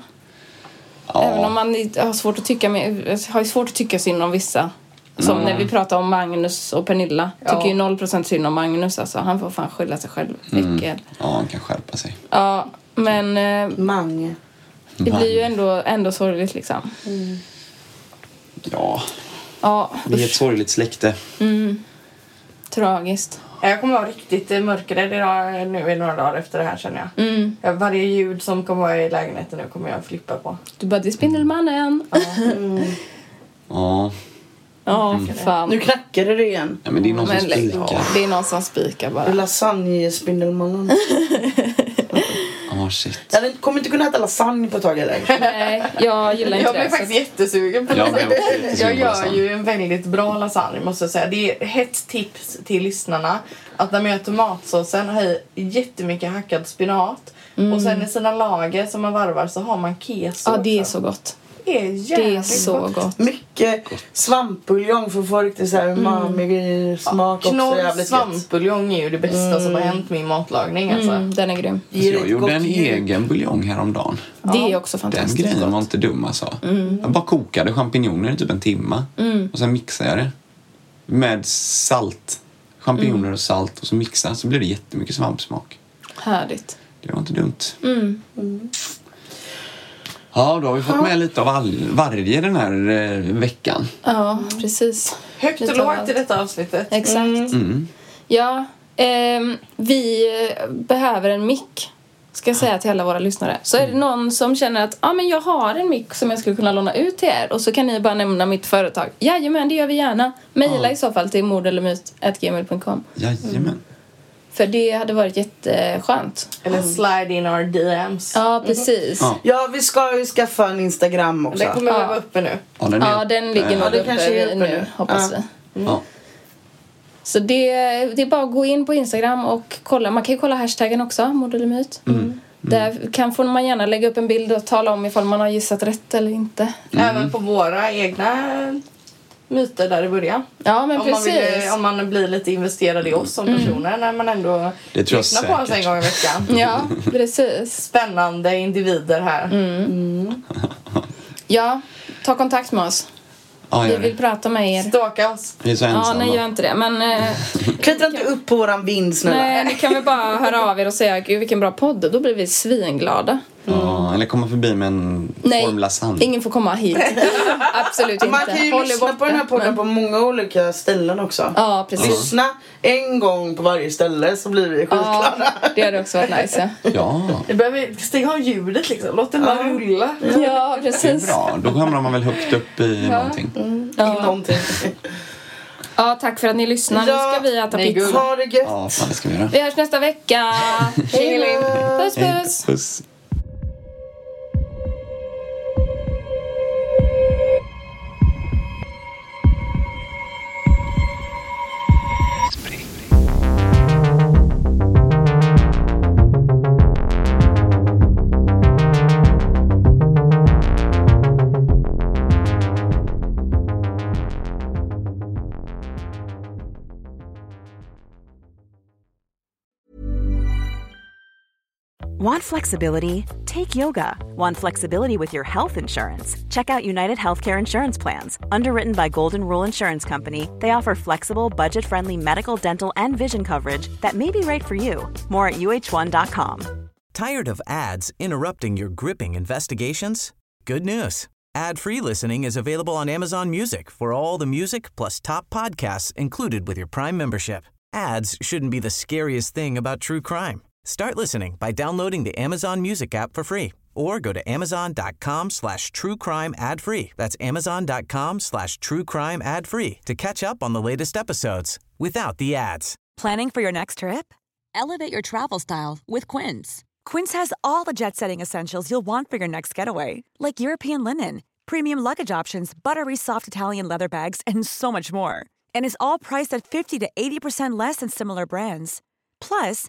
Speaker 5: Även om
Speaker 6: ja.
Speaker 5: man i- har svårt att tycka, med, har svårt att tycka synd om vissa. Som när vi pratar om Magnus och Pernilla. Tycker ju 0% synd om Magnus alltså. Han får fan skylla sig själv. Äckel.
Speaker 6: ja, han kan skärpa sig.
Speaker 5: Ja, men eh,
Speaker 7: Mange.
Speaker 5: det blir ju ändå, ändå sorgligt liksom.
Speaker 6: Ja,
Speaker 5: Ja,
Speaker 6: vi är ett sorgligt släkte.
Speaker 5: tragiskt.
Speaker 4: Jag kommer vara riktigt eh, mörkrädd idag, nu i några dagar efter det här känner jag. Ja, Varje ljud som kommer vara i lägenheten nu kommer jag flippa på.
Speaker 5: Du bara, det är Spindelmannen.
Speaker 6: Ja,
Speaker 5: Ja, för
Speaker 7: Nu
Speaker 5: fan.
Speaker 7: knackade det igen.
Speaker 6: ja men det är någon som
Speaker 5: Men lägg
Speaker 6: spikar.
Speaker 5: av. Det är någon som spikar bara.
Speaker 7: Lasagne-spindelmannen.
Speaker 6: Ja,
Speaker 5: *laughs*
Speaker 6: shit.
Speaker 7: Jag hade- kommer inte kunna äta lasagne på ett tag eller?
Speaker 5: Nej, jag gillar inte
Speaker 4: Jag
Speaker 5: det.
Speaker 4: blev faktiskt jättesugen på
Speaker 6: Jag blev
Speaker 4: lasagne.
Speaker 6: också jättesugen på
Speaker 4: Jag gör
Speaker 5: Liksom.
Speaker 6: lasagne.
Speaker 4: ju en väldigt bra lasagne måste jag säga. Det är hett tips till lyssnarna att när man gör tomatsåsen ha i jättemycket hackad spinat och sen i sina lager som man varvar så har man keso.
Speaker 5: Mm. Ja, det är
Speaker 4: också.
Speaker 5: så gott.
Speaker 4: Det är
Speaker 5: Det
Speaker 4: jävligt
Speaker 5: är så gott.
Speaker 7: Mycket svampbuljong för att få riktigt så här umami-smak också.
Speaker 4: Knorr
Speaker 7: Jävligt gott.
Speaker 4: svampbuljong är ju det bästa som har hänt min matlagning alltså.
Speaker 5: Mm, den är grym.
Speaker 7: Ger
Speaker 6: Jag
Speaker 7: ett
Speaker 6: gjorde
Speaker 7: gott
Speaker 6: en
Speaker 7: ljud.
Speaker 6: egen buljong häromdagen.
Speaker 5: Det är också
Speaker 6: Den
Speaker 5: fantastiskt
Speaker 6: grejen var
Speaker 5: gott. Mm.
Speaker 6: inte dum alltså. Jag bara kokade champinjoner i typ en timma och sen mixade jag det. Med salt. Champinjoner
Speaker 5: Mm.
Speaker 6: och salt och så mixade så blev det jättemycket svampsmak.
Speaker 5: Härligt.
Speaker 6: Det var inte dumt.
Speaker 5: Mm.
Speaker 6: Ja, då har vi fått med lite av all, varje den här eh, veckan.
Speaker 5: Ja, precis.
Speaker 4: Högt och
Speaker 5: Lite av
Speaker 4: lågt
Speaker 5: allt.
Speaker 4: i detta avsnittet.
Speaker 5: Exakt.
Speaker 7: Mm.
Speaker 5: Ja, ehm, vi eh, behöver en mick. Ska jag säga till alla våra lyssnare. Så
Speaker 7: Mm.
Speaker 5: är det någon som känner att ah, men jag har en mick som jag skulle kunna låna ut till er och så kan ni bara nämna mitt företag. Jajamän, det gör vi gärna. Mejla i så fall till mordellermyt.gmail.com
Speaker 6: Jajamän.
Speaker 5: För det hade varit jätteskönt.
Speaker 4: Eller slide in our DMs.
Speaker 5: Ja, precis.
Speaker 6: Ja.
Speaker 7: Ja, vi ska ju skaffa en Instagram också.
Speaker 4: Den kommer att vara uppe nu.
Speaker 6: Ja, den,
Speaker 5: Ja, den ligger nog
Speaker 7: det
Speaker 5: uppe
Speaker 7: kanske hjälper
Speaker 5: nu,
Speaker 7: nu.
Speaker 5: hoppas
Speaker 7: Ja.
Speaker 5: vi.
Speaker 6: Ja.
Speaker 5: Så det, det är bara att gå in på Instagram och kolla. Man kan ju kolla hashtaggen också, mord eller myt. Där kan får man gärna lägga upp en bild och tala om ifall man har gissat rätt eller inte.
Speaker 4: Även på våra egna myter där i början.
Speaker 5: Ja, men
Speaker 4: om, man
Speaker 7: eh,
Speaker 5: precis. Mm.
Speaker 4: vill, eh, om man blir lite investerad i oss som personer när man ändå
Speaker 6: Det tror jag
Speaker 4: lyssnar på oss en
Speaker 6: säkert.
Speaker 4: gång i veckan.
Speaker 5: *laughs* Ja, Mm. precis.
Speaker 4: Spännande individer här.
Speaker 5: Ja, ta kontakt med oss.
Speaker 6: ja,
Speaker 5: Vi
Speaker 6: gör
Speaker 5: vill
Speaker 6: det.
Speaker 5: prata med er.
Speaker 4: Stalka oss.
Speaker 6: Vi är så
Speaker 5: Ja,
Speaker 6: ensamma.
Speaker 5: nej, gör inte det. Men eh,
Speaker 7: Klättra inte upp på våran vind snälla.
Speaker 5: nej, ni kan väl bara höra av er och säga gud vilken bra podd. Då blir vi svinglada.
Speaker 6: ja, eller komma förbi med en
Speaker 5: Mm. Nej,
Speaker 6: form lasagne.
Speaker 5: ingen får komma hit. Absolut inte.
Speaker 7: Man kan ju
Speaker 5: Håll er
Speaker 7: lyssna på den här podden
Speaker 5: men-
Speaker 7: på många olika ställen också.
Speaker 5: Ja, precis.
Speaker 7: Lyssna en gång på varje ställe så blir vi skitglada.
Speaker 5: Ja, det hade också varit nice. Ja.
Speaker 6: Ja,
Speaker 4: Vi behöver stänga av ljudet liksom. Låt den bara rulla.
Speaker 5: Ja, precis. Mm.
Speaker 6: bra. Då hamnar man väl högt upp i någonting.
Speaker 5: Ja.
Speaker 7: Någonting.
Speaker 5: ja, tack för att ni lyssnar. Nu ska vi äta
Speaker 4: ni är
Speaker 5: pizza.
Speaker 4: guld.
Speaker 7: Ha det gött.
Speaker 6: Ja, fan, det ska vi göra.
Speaker 5: Vi hörs nästa vecka. Puss,
Speaker 6: Hej,
Speaker 5: puss.
Speaker 6: puss.
Speaker 8: Want flexibility? Take yoga. Want flexibility with your health insurance? Check out United Healthcare Insurance Plans. Underwritten by Golden Rule Insurance Company, they offer flexible, budget friendly medical, dental, and vision coverage that may be right for you. More at uh1.com.
Speaker 1: Tired of ads interrupting your gripping investigations? Good news. Ad-free listening is available on Amazon Music for all the music plus top podcasts included with your Prime membership. Ads shouldn't be the scariest thing about true crime. Start listening by downloading the Amazon Music app for free or go to amazon.com slash true crime ad free. That's amazon.com slash true crime ad free to catch up on the latest episodes without the ads.
Speaker 2: Planning for your next trip?
Speaker 3: Elevate your travel style with Quince.
Speaker 2: Quince has all the jet setting essentials you'll want for your next getaway, like European linen, premium luggage options, buttery soft Italian leather bags, and so much more. And is all priced at 50 to 80% less than similar brands. Plus,